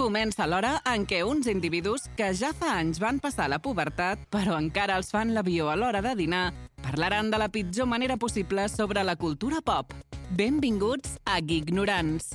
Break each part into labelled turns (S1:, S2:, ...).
S1: Comença l'hora en què uns individus que ja fa anys van passar la pubertat, però encara els fan l'avió a l'hora de dinar, parlaran de la pitjor manera possible sobre la cultura pop. Benvinguts a Gignorants.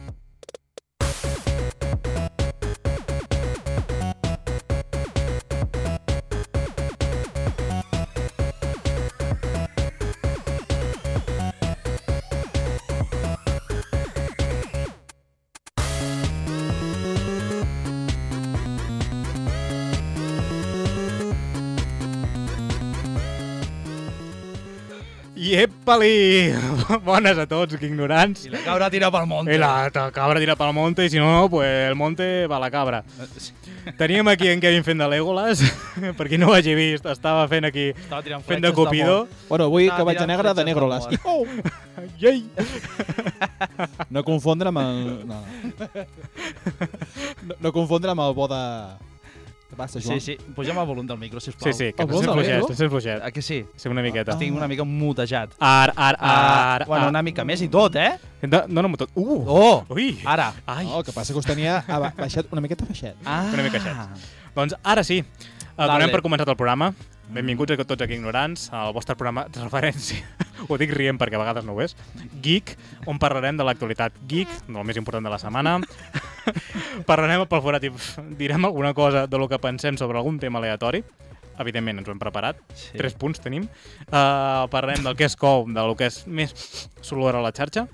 S2: Iepali! Bones a tots, que ignorants.
S3: I la cabra tira pel monte.
S2: I la ta- cabra tira pel monte, i si no, no, pues el monte va a la cabra.
S3: Eh, Sí,
S2: Teníem aquí en Kevin fent de Legolas, per qui no ho hagi vist, estava fent aquí,
S3: Estava tirant
S2: fent
S3: fletxes
S2: de Cupido.
S4: Bueno, vull
S3: Estava
S4: que vaig a
S3: tirant
S4: negre de
S3: fletxes de
S4: Negrolas.
S3: mort.
S4: Oh!
S2: Iei!
S4: No confondre amb el... No, no. no confondre amb el bo de... Què passa,
S3: Sí,
S4: Joan?
S3: sí. Pugem el volum del micro, sisplau.
S2: Sí, sí, que
S4: El
S2: t'estàs
S4: monte de
S2: fluixet,
S4: Lego?
S2: t'estàs fluixet.
S3: A que sí?
S2: Sí, una miqueta.
S3: eh, Estic una mica mutejat.
S2: Ar, ar, ar,
S3: Ah, bueno,
S2: ar.
S3: una mica més i tot, eh?
S2: Do- Dóna'm tot. Uh!
S3: Oh!
S2: Ui!
S3: Ara.
S2: Ai!
S4: No, el que passa que us tenia aba- baixat, una miqueta baixat.
S3: Ah.
S2: Una mica aixet. Doncs ara sí, el
S3: Dale.
S2: donem per començat el programa. Benvinguts a tots aquí ignorants, al vostre programa de referència. Ho dic rient perquè a vegades no ho és. Geek, on parlarem de l'actualitat geek, del més important de la setmana. parlarem pel forat i direm alguna cosa de lo que pensem sobre algun tema aleatori. Evidentment, ens ho hem preparat.
S3: Sí.
S2: Sí. Tres punts tenim. Uh, parlarem del que és com, del que és més solor a la xarxa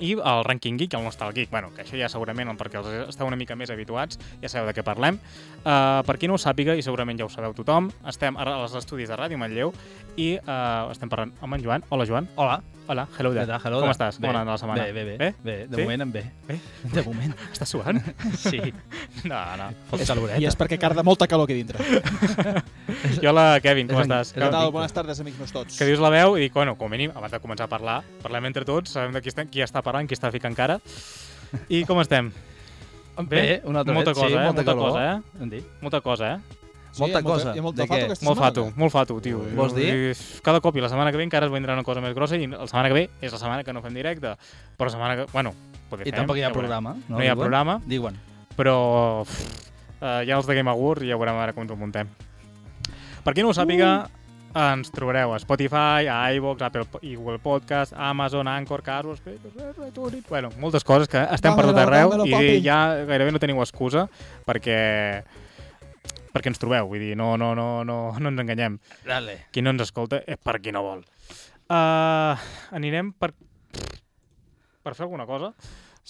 S2: i el rànquing geek i el nostre geek. Bueno, que això ja segurament, perquè els esteu una mica més habituats, ja sabeu de què parlem. Uh, per qui no ho sàpiga, i segurament ja ho sabeu tothom, estem ara als estudis de Ràdio Manlleu i uh, estem parlant amb en Joan. Hola, Joan.
S3: Hola.
S2: Hola, hello
S3: Què
S2: there.
S3: tal? Hello
S2: Com
S3: there.
S2: estàs?
S3: Bé.
S2: Com ha anat la setmana?
S3: Bé, bé, bé.
S2: Bé?
S3: bé. De
S2: Sí?
S3: moment em bé.
S2: Bé?
S3: De moment.
S2: Estàs suant?
S3: Sí.
S2: no, no.
S3: Fot caloreta.
S4: I és perquè carda molta calor aquí dintre.
S2: I hola, Kevin, com
S3: És en-
S2: estàs?
S3: és
S4: Què
S3: en-
S2: Que,
S4: tal? Bones tardes, amics meus tots.
S2: que dius la veu i dic, bueno, com a mínim, abans de començar a parlar, parlem entre tots, sabem de qui, estem, qui està parlant, qui està ficant cara. I com estem?
S3: Bé, una altra
S2: molta
S3: vegada.
S2: cosa,
S3: sí,
S2: eh?
S3: Molta,
S2: molta
S3: calor.
S2: cosa, eh?
S3: Em dic.
S2: Molta cosa, eh?
S3: molta cosa.
S4: Hi ha molta
S3: De què?
S4: fato aquesta
S2: Molt
S4: setmana.
S2: fato, molt fato, tio.
S3: Ui. Vols dir?
S2: I Cada cop i la setmana que ve encara es vendrà una cosa més grossa i la setmana que ve és la setmana que no fem directe. Però la setmana que... Bueno, poder
S3: I
S2: fem,
S3: tampoc hi
S2: ja
S3: ha
S2: veurem.
S3: programa.
S2: No, hi ha
S3: Diuen?
S2: programa,
S3: Diuen.
S2: però pff, eh, hi ha els de Game Awards i ja veurem ara com ens ho muntem. Per qui no ho sàpiga, ens trobareu a Spotify, a iVox, Apple po- i Google Podcast, Amazon, Anchor, Casos, bueno, moltes coses que estem per tot
S4: Dámelo,
S2: arreu
S4: dámelo,
S2: i
S4: papi.
S2: ja gairebé no teniu excusa perquè perquè ens trobeu, vull dir, no, no, no, no, no ens enganyem
S3: Dale.
S2: qui no ens escolta és per qui no vol. Uh, anirem per per fer alguna cosa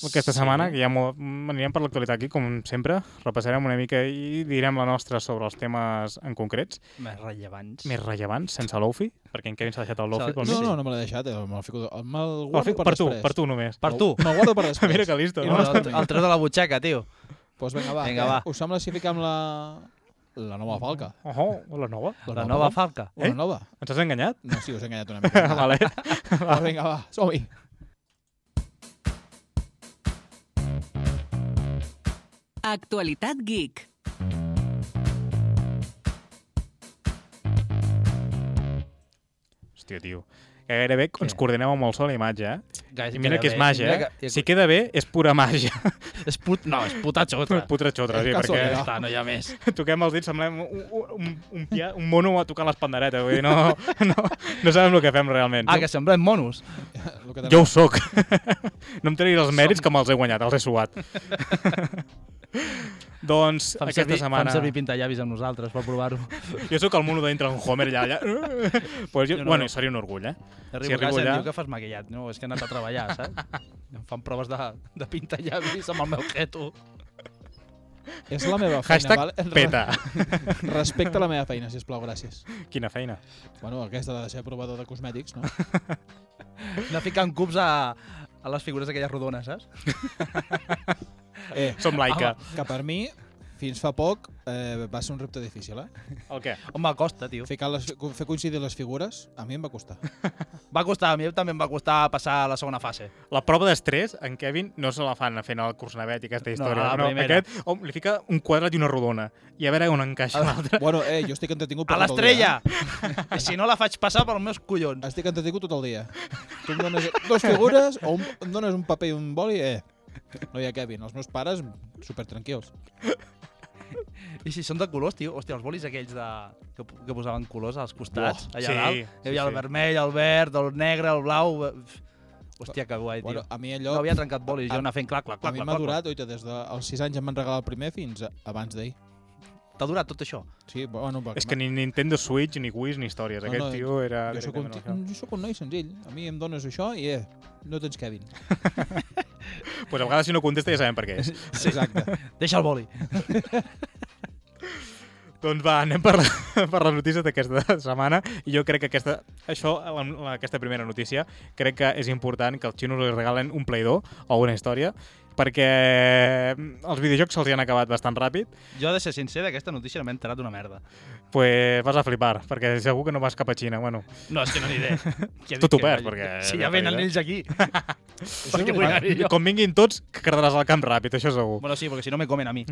S2: aquesta
S3: Sí.
S2: setmana, que ja mo... mm, anirem per l'actualitat aquí, com sempre, repassarem una mica i direm la nostra sobre els temes en concrets,
S3: Més rellevants.
S2: més rellevants, sense l'Ofi, perquè en Kevin s'ha deixat el Lofi
S3: S'ha-
S2: pel
S4: No,
S2: mig.
S4: no, no me l'he deixat. eh, Me'l fico... Me'l
S2: El
S4: guardo
S2: fic
S4: per,
S2: per tu,
S4: després.
S2: per tu només.
S3: Per tu.
S4: Me'l guardo per després.
S2: Mira que listo,
S4: I
S2: no?
S4: no
S3: El, el tros de la butxaca, tio.
S4: Pues vinga, va.
S3: Vinga,
S4: eh?
S3: va.
S4: Us sembla si fiquem la... La nova falca?
S2: Oh, la nova.
S3: La nova falca.
S4: falca?
S2: Eh?
S4: La nova?
S2: Ens has enganyat?
S4: No, sí, us he enganyat una mica.
S2: vale.
S4: Va, vinga, va, som-hi.
S1: Actualitat Geek.
S2: Hòstia, tio. Que gairebé ens coordinem amb el sol i imatge, eh?
S3: Guys,
S2: I mira que és
S3: bé.
S2: màgia,
S3: Mira
S2: eh?
S3: que-
S2: Si queda bé, és pura màgia.
S3: És put... No, és puta xotra.
S2: Putre xotra, sí,
S4: És
S2: perquè...
S4: casualitat.
S3: Està, no hi ha més.
S2: toquem els dits, semblem un, un, un, pia, un mono a tocar l'espandereta. Vull dir, no, no, no sabem el que fem realment.
S3: Ah, que semblem monos.
S4: El que
S2: Jo ho sóc. No em treguis els mèrits que me'ls he guanyat, els he suat. doncs,
S3: Fem
S2: aquesta
S3: servir,
S2: setmana...
S3: Fem servir pintallavis amb nosaltres per provar-ho.
S2: Jo sóc el mono d'entre en Homer allà, allà. pues jo,
S3: Jo no.
S2: bueno, seria un orgull, eh?
S3: Arribo a
S2: arribo
S3: casa i
S2: allà-
S3: em diu que fas maquillat. No, és que he anat a treballar, saps? Em fan proves de, de pintallavis amb el meu geto.
S4: És la meva feina,
S2: Hashtag
S4: val? Re-
S2: peta.
S4: Respecta la meva feina, sisplau, gràcies.
S2: Quina feina.
S4: Bueno, aquesta de ser provador de cosmètics, no?
S3: Anar ficant cubs a, a les figures aquelles rodones, saps?
S4: Eh,
S2: Som laica.
S4: que per mi, fins fa poc, eh, va ser un repte difícil, eh?
S2: El què?
S3: On m'acosta, tio.
S4: Ficar les, co- fer coincidir les figures, a mi em va costar.
S3: Va costar, a mi també em va costar passar a la segona fase.
S2: La prova d'estrès, en Kevin no se la fan fent el curs navet i aquesta història.
S3: la primera.
S2: aquest hom, li fica un quadrat i una rodona. I a veure on
S3: Ah.
S2: encaixa l'altra.
S4: Bueno, eh, jo estic entretingut per
S3: A
S4: tot el dia.
S3: l'estrella!
S2: eh?
S3: I si no la faig passar pels meus collons.
S4: eh? Estic entretingut tot el dia. Tu em dones dues figures, o un, em dones un paper i un boli, eh, No hi ha Kevin. Els meus pares, super tranquils.
S3: I si són de colors, tio, hòstia, els bolis aquells de... que, po- que posaven colors als costats,
S2: Buah,
S3: allà
S2: sí,
S3: dalt.
S2: sí,
S3: Hi havia el
S2: sí.
S3: vermell, el verd, el negre, el blau... eh, pf. Hòstia, que guai, tio.
S4: Bueno, a mi allò...
S3: no havia trencat bolis,
S4: a-
S3: jo anar fent clac, clac,
S4: a
S3: clac,
S4: mi
S3: clac,
S4: m'ha
S3: clac,
S4: durat, oita, des dels 6 anys em van regalar el primer fins a- abans d'ahir.
S3: clac. T'ha durat tot això?
S4: Sí, bueno, perquè
S2: És que ni Nintendo Switch, ni Wii, ni històries.
S4: No,
S2: Aquest
S4: no,
S2: tio era...
S4: jo sóc, un,
S2: directament
S4: ti-
S2: això.
S4: jo sóc un noi senzill. A mi em dones això i eh, no tens Kevin.
S2: Pues a vegades si no contesta ja sabem per què és.
S4: Sí. Exacte.
S3: Deixa el boli.
S2: doncs va, anem per, la- per les notícies d'aquesta setmana i jo crec que aquesta, això, la, la, aquesta primera notícia, crec que és important que els xinos els regalen un Play 2 o una història perquè mm, els videojocs se'ls hi han acabat bastant ràpid,
S3: Jo, he de ser sincer, d'aquesta notícia no m'he enterat d'una merda.
S2: pues vas a flipar, perquè segur que no vas cap a Xina. Bueno,
S3: No, és que no n'hi idea.
S2: Tu
S3: Ja dic
S2: t'ho
S3: que
S2: perds,
S3: vagi.
S2: perquè-
S3: Si ja venen ells aquí. perquè vull anar-hi jo.
S2: va, ah, com vinguin tots, que quedaràs al camp ràpid, això segur.
S3: Bueno, sí, perquè si no me comen a mi.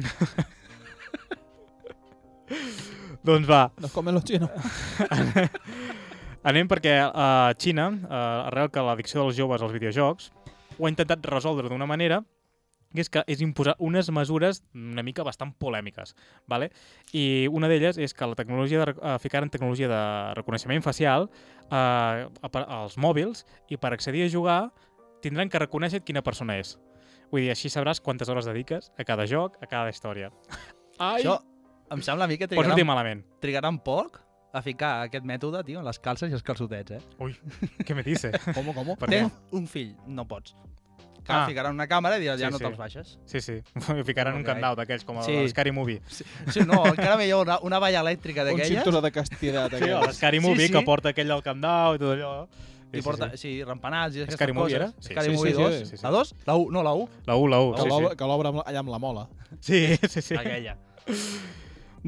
S2: Doncs va,
S4: No come los chinos.
S2: Anem perquè a Xina, eh, arrel que l'addicció dels joves als videojocs, ho ha intentat resoldre d'una manera que és que és imposar unes mesures una mica bastant polèmiques, vale? i una d'elles és que la tecnologia de, rec- eh, ficaran tecnologia de reconeixement facial eh, a per- als mòbils i per accedir a jugar tindran que reconèixer quina persona és. Vull dir, així sabràs quantes hores dediques a cada joc, a cada història. Ai,
S3: Això em sembla a mi que
S2: pot sortir
S3: trigaran,
S2: malament.
S3: trigaran poc a ficar aquest mètode, tio, en les calces i els calçotets, eh?
S2: Ui, què me dice?
S4: Com, com?
S2: Per què?
S3: Tens un fill, no pots. Que ah.
S2: Ah.
S3: ficaran una càmera i diran, ja
S2: Sí,
S3: no
S2: sí.
S3: te'ls baixes.
S2: Sí, sí, Ho ficaran un
S3: Ok.
S2: candau d'aquells, com a
S3: Sí.
S2: sí. l'Scary Movie.
S3: Sí, sí, no, encara millor una, una valla elèctrica
S4: Un
S3: d'aquelles
S4: cinturó de castidat.
S2: Sí,
S4: aquell.
S2: l'Scary
S3: Sí,
S2: Movie
S3: sí.
S2: que porta aquell del candau i tot allò.
S3: i porta, sí, sí. rempenats i aquestes
S2: Scary Movie
S3: coses.
S2: era? Sí,
S3: Scary
S4: sí,
S3: Movie
S4: sí,
S3: 2.
S4: sí,
S2: sí, sí.
S3: La 2? La 1, no la 1.
S2: La 1, la 1.
S4: Que l'obre- que l'obre amb- allà amb la mola.
S2: Sí, sí, sí. sí.
S3: Aquella.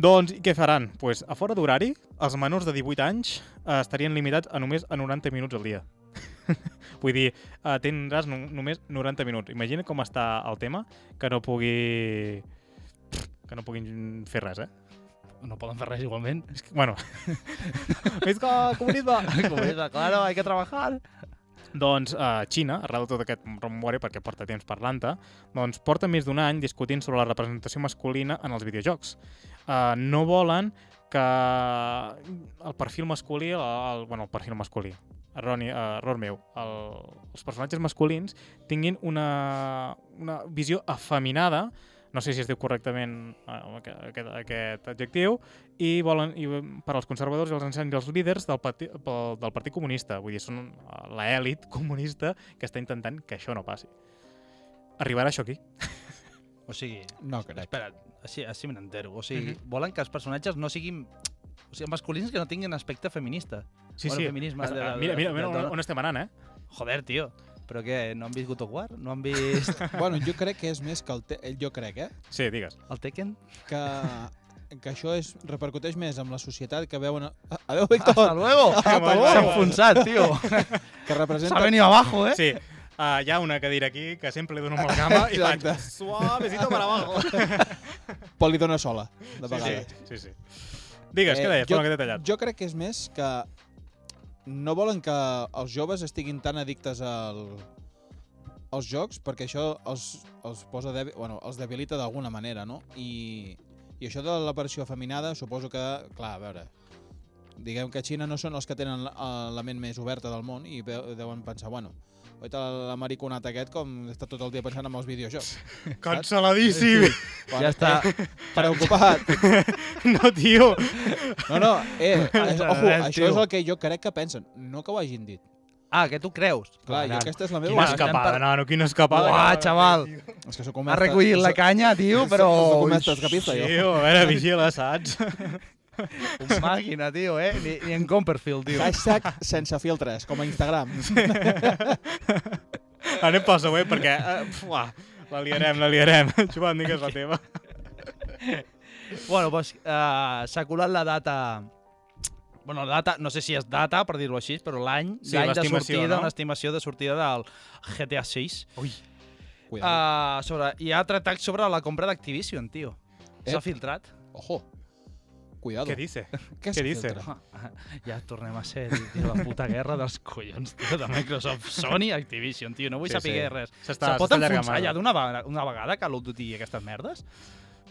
S2: Doncs, i què faran? Pues, a fora d'horari, els menors de 18 anys eh, estarien limitats a només a 90 minuts al dia. Vull dir, eh, tindràs no, només 90 minuts. Imagina com està el tema, que no pugui... que no puguin fer res, eh?
S3: No poden fer res igualment.
S2: És que, bueno... Visca, comunisme!
S3: Com és, claro, hay que trabajar.
S2: Doncs a Xina, arrel de tot aquest rumore, perquè porta temps parlant-te, doncs porta més d'un any discutint sobre la representació masculina en els videojocs. Uh, no volen que el perfil masculí, el, el, bueno, el perfil masculí, erroni, uh, error meu, el, els personatges masculins tinguin una, una visió afeminada, no sé si es diu correctament uh, aquest, aquest adjectiu, i volen i eh, per als conservadors i els ensenyants i els líders del, parti, pel, del Partit Comunista. Vull dir, són eh, l'elit comunista que està intentant que això no passi. Arribarà això aquí?
S3: O sigui,
S4: No crec.
S3: espera, així, així me n'entero. O sigui, volen que els personatges no siguin... O sigui, masculins que no tinguin aspecte feminista.
S2: Sí,
S3: Bueno,
S2: sí.
S3: feminisme,
S2: Està-
S3: de- de-
S2: mira, mira,
S3: de-
S2: mira
S3: de-
S2: on, on estem anant, eh?
S3: Joder, tio. Però què, no han vist God of War? No han vist
S4: Bueno, jo crec que és més que el... Te eh, jo crec, eh?
S2: Sí, digues.
S3: el Tekken?
S4: Que, que això és, repercuteix més amb la societat que veuen... A... Adéu,
S3: Hasta
S4: Víctor!
S3: luego!
S4: Hasta luego.
S3: S'ha enfonsat, tio.
S4: Que
S3: S'ha
S4: representa...
S3: venido abajo, eh?
S2: Sí. Uh, hi ha una cadira aquí que sempre li dono amb la cama i faig
S4: Exacte.
S2: suavecito para abajo.
S4: Pol li dona sola,
S2: Sí,
S4: de
S2: sí,
S4: vegades.
S2: sí, sí. Digues, eh, què deies?
S4: jo,
S2: Perdó, que t'he tallat.
S4: jo crec que és més que no volen que els joves estiguin tan addictes al, als jocs perquè això els, els, posa debi, bueno, els debilita d'alguna manera, no? I, I això de l'aparició afeminada suposo que, clar, a veure, diguem que a Xina no són els que tenen la, eh, la ment més oberta del món i ve- deuen pensar, bueno, oita l'americonat aquest com està tot el dia pensant en els videojocs. eh,
S2: Canceladíssim!
S3: Ja està.
S4: Preocupat.
S2: No, tio!
S4: No, no, eh,
S3: Ens
S4: ojo,
S3: agradem,
S4: això és
S3: tio.
S4: el que jo crec que pensen, no que ho hagin dit.
S3: Ah, que tu creus.
S4: Clar, jo aquesta és la meva...
S2: Quina
S3: estem
S2: escapada,
S3: par-
S2: nano, quina escapada.
S3: Uah,
S2: que-
S3: xaval.
S4: És que sóc un
S3: Ha recollit la canya, tio, però...
S4: Sóc un mestre escapista,
S2: Sí,
S4: jo.
S2: a veure, vigila, saps?
S3: Un màquina, tio, eh? Ni, ni en Copperfield, tio.
S4: Hashtag sense filtres, com a Instagram.
S2: Anem pel següent perquè... Uh, uah, la liarem, la liarem. Joan, digues la teva.
S3: Bueno, doncs uh, s'ha colat la data... Bueno, la data, no sé si és data, per dir-ho així, però l'any
S2: Sí,
S3: l'any de
S2: l'estimació,
S3: sortida,
S2: no?
S3: una estimació de sortida del GTA 6.
S2: Ui.
S4: Cuidado.
S3: Uh, sobre, I ha tractat sobre la compra d'Activision, tio. S'ha
S4: Ep.
S3: filtrat.
S4: Ojo. Cuidado.
S2: Què dice?
S4: Què es
S2: què dice?
S4: filtra?
S3: Ja tornem a ser tio, la puta guerra dels collons, tio, de Microsoft, Sony, Activision, tio, no vull
S2: Sí,
S3: saber
S2: sí.
S3: res.
S2: S'està-
S3: Se pot
S2: s'està allargant
S3: enfonsar
S2: molt.
S3: ja d'una vegada, una vegada que l'Out digui aquestes merdes?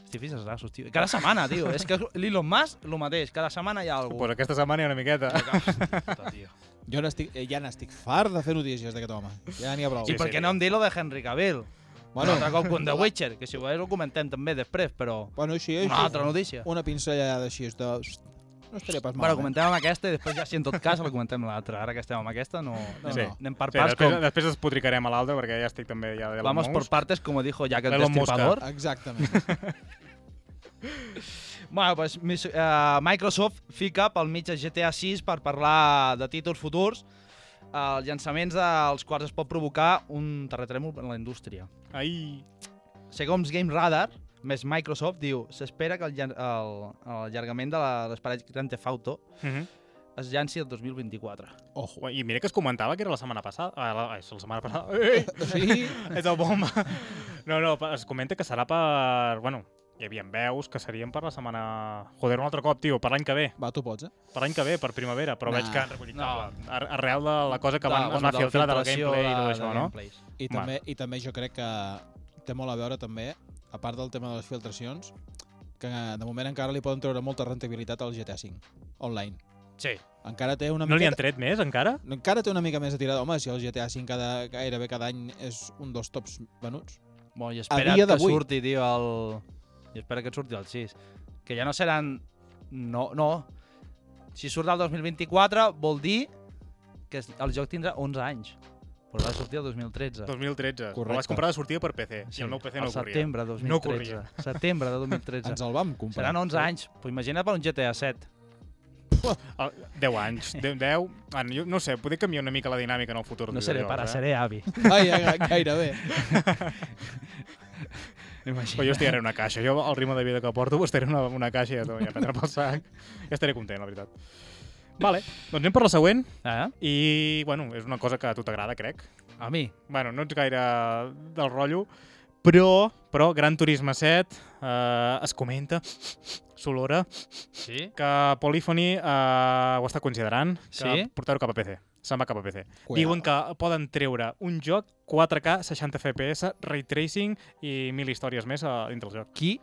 S3: Estic fins als nassos, tio. Cada setmana, tio. És que l'Elon Musk, el mateix. Cada setmana hi ha algú.
S2: Pues aquesta setmana hi ha una miqueta.
S3: Puta, tio.
S4: Jo n'estic- eh, ja n'estic fart de fer notícies d'aquest home. Ja n'hi ha prou.
S3: I per
S2: sí,
S3: què
S2: tio.
S3: no em dir lo de Henry Cavill? Bueno,
S4: Bueno,
S3: un altre cop con The Witcher, que si voleu ho comentem també després, però...
S4: bueno, així, així.
S3: Una altra notícia.
S4: Una pinzellada així, és de... No estaria pas mal.
S3: Bueno, comentem amb aquesta i després ja si en tot cas la comentem l'altra. Ara que estem amb aquesta no, no,
S4: Sí.
S3: no. anem per
S2: Sí,
S3: parts
S2: després,
S3: com...
S2: després es putricarem a l'altre perquè ja estic també ja de
S3: Vamos por partes, como dijo Jack el
S2: Elon Musk.
S3: Destripador.
S4: Exactament.
S3: Bueno, pues, mis- eh, Microsoft fica pel mig de GTA 6 per parlar de títols futurs, eh, els llançaments dels quals es pot provocar un terratrèmol en la indústria.
S2: Ai,
S3: Segons Game Radar, més Microsoft, diu s'espera que el, llan- el, el allargament de la- l'esperat Grand Theft Auto
S2: uh -huh.
S3: es llanci el 2024.
S4: Ojo.
S2: I mira que es comentava que era la setmana passada. Ah, la, ai, la setmana passada. Ei,
S4: Sí,
S2: és el bomba. No, no, pa- es comenta que serà per... Bueno, hi havia veus que serien per la setmana... Joder, un altre cop, tio, per l'any que ve.
S4: va, tu pots, eh?
S2: Per l'any que ve, per primavera, però
S4: Nah.
S2: veig que han recollit
S3: No.
S2: no. arrel de la cosa que
S3: De-
S2: van, es
S3: bueno,
S2: va
S3: de la
S2: filtrar del
S3: filtració
S2: gameplay i tot
S3: de-
S2: això,
S3: de
S2: no?
S3: gameplays.
S4: I també, I també jo crec que té molt a veure també, a part del tema de les filtracions, que de moment encara li poden treure molta rentabilitat al GTA V online.
S3: Sí.
S4: Encara té una
S2: No li han
S4: miqueta...
S2: tret més, encara?
S4: No encara té una mica més de tirada. Home, si el GTA V cada, gairebé cada any és un dels tops venuts.
S3: Bueno, i espera
S4: dia
S3: que
S4: d'avui.
S3: surti, tio, el... I espera que et surti el 6. Que ja no seran... No, no. Si surt el 2024, vol dir que es- el joc tindrà 11 anys. Però va sortir el 2013.
S2: Doncs, 2013. Correcte.
S4: Correcte.
S2: El vaig comprar de sortida per PC, sí. i el meu PC no
S3: el
S2: corria.
S3: setembre de 2013.
S2: No corria.
S3: Setembre de
S4: Ens
S3: 2013.
S4: el vam comprar.
S3: Seran 11 anys. Pues imagina per un GTA 7.
S2: El- 10 anys, 10, 10... Ah, jo no sé, poder canviar una mica la dinàmica en el futur.
S3: No
S2: dels
S3: seré
S2: videojocs,
S3: pare,
S2: eh?
S3: seré avi.
S4: Ai, ai, ai, gairebé.
S2: Però
S3: Imagina.
S2: jo estiraré una caixa. Jo, el ritme de vida que porto, estiraré una, una caixa i ja, ja prendré pel sac. Ja estaré content, la veritat. Vale, doncs anem per la següent.
S3: Eh?
S2: I, bueno, és una cosa que a tu t'agrada, crec.
S3: A mi.
S2: Bueno, no ets gaire del rotllo, però, però Gran Turisme 7 eh, es comenta, s'olora,
S3: Sí?
S2: que Polyphony eh, ho està considerant, que
S3: Sí?
S2: portar-ho cap a PC. Se'n va cap a PC.
S4: Cuidado.
S2: Diuen que poden treure un joc 4K, 60 FPS, ray tracing i mil històries més a dintre del joc.
S3: Qui?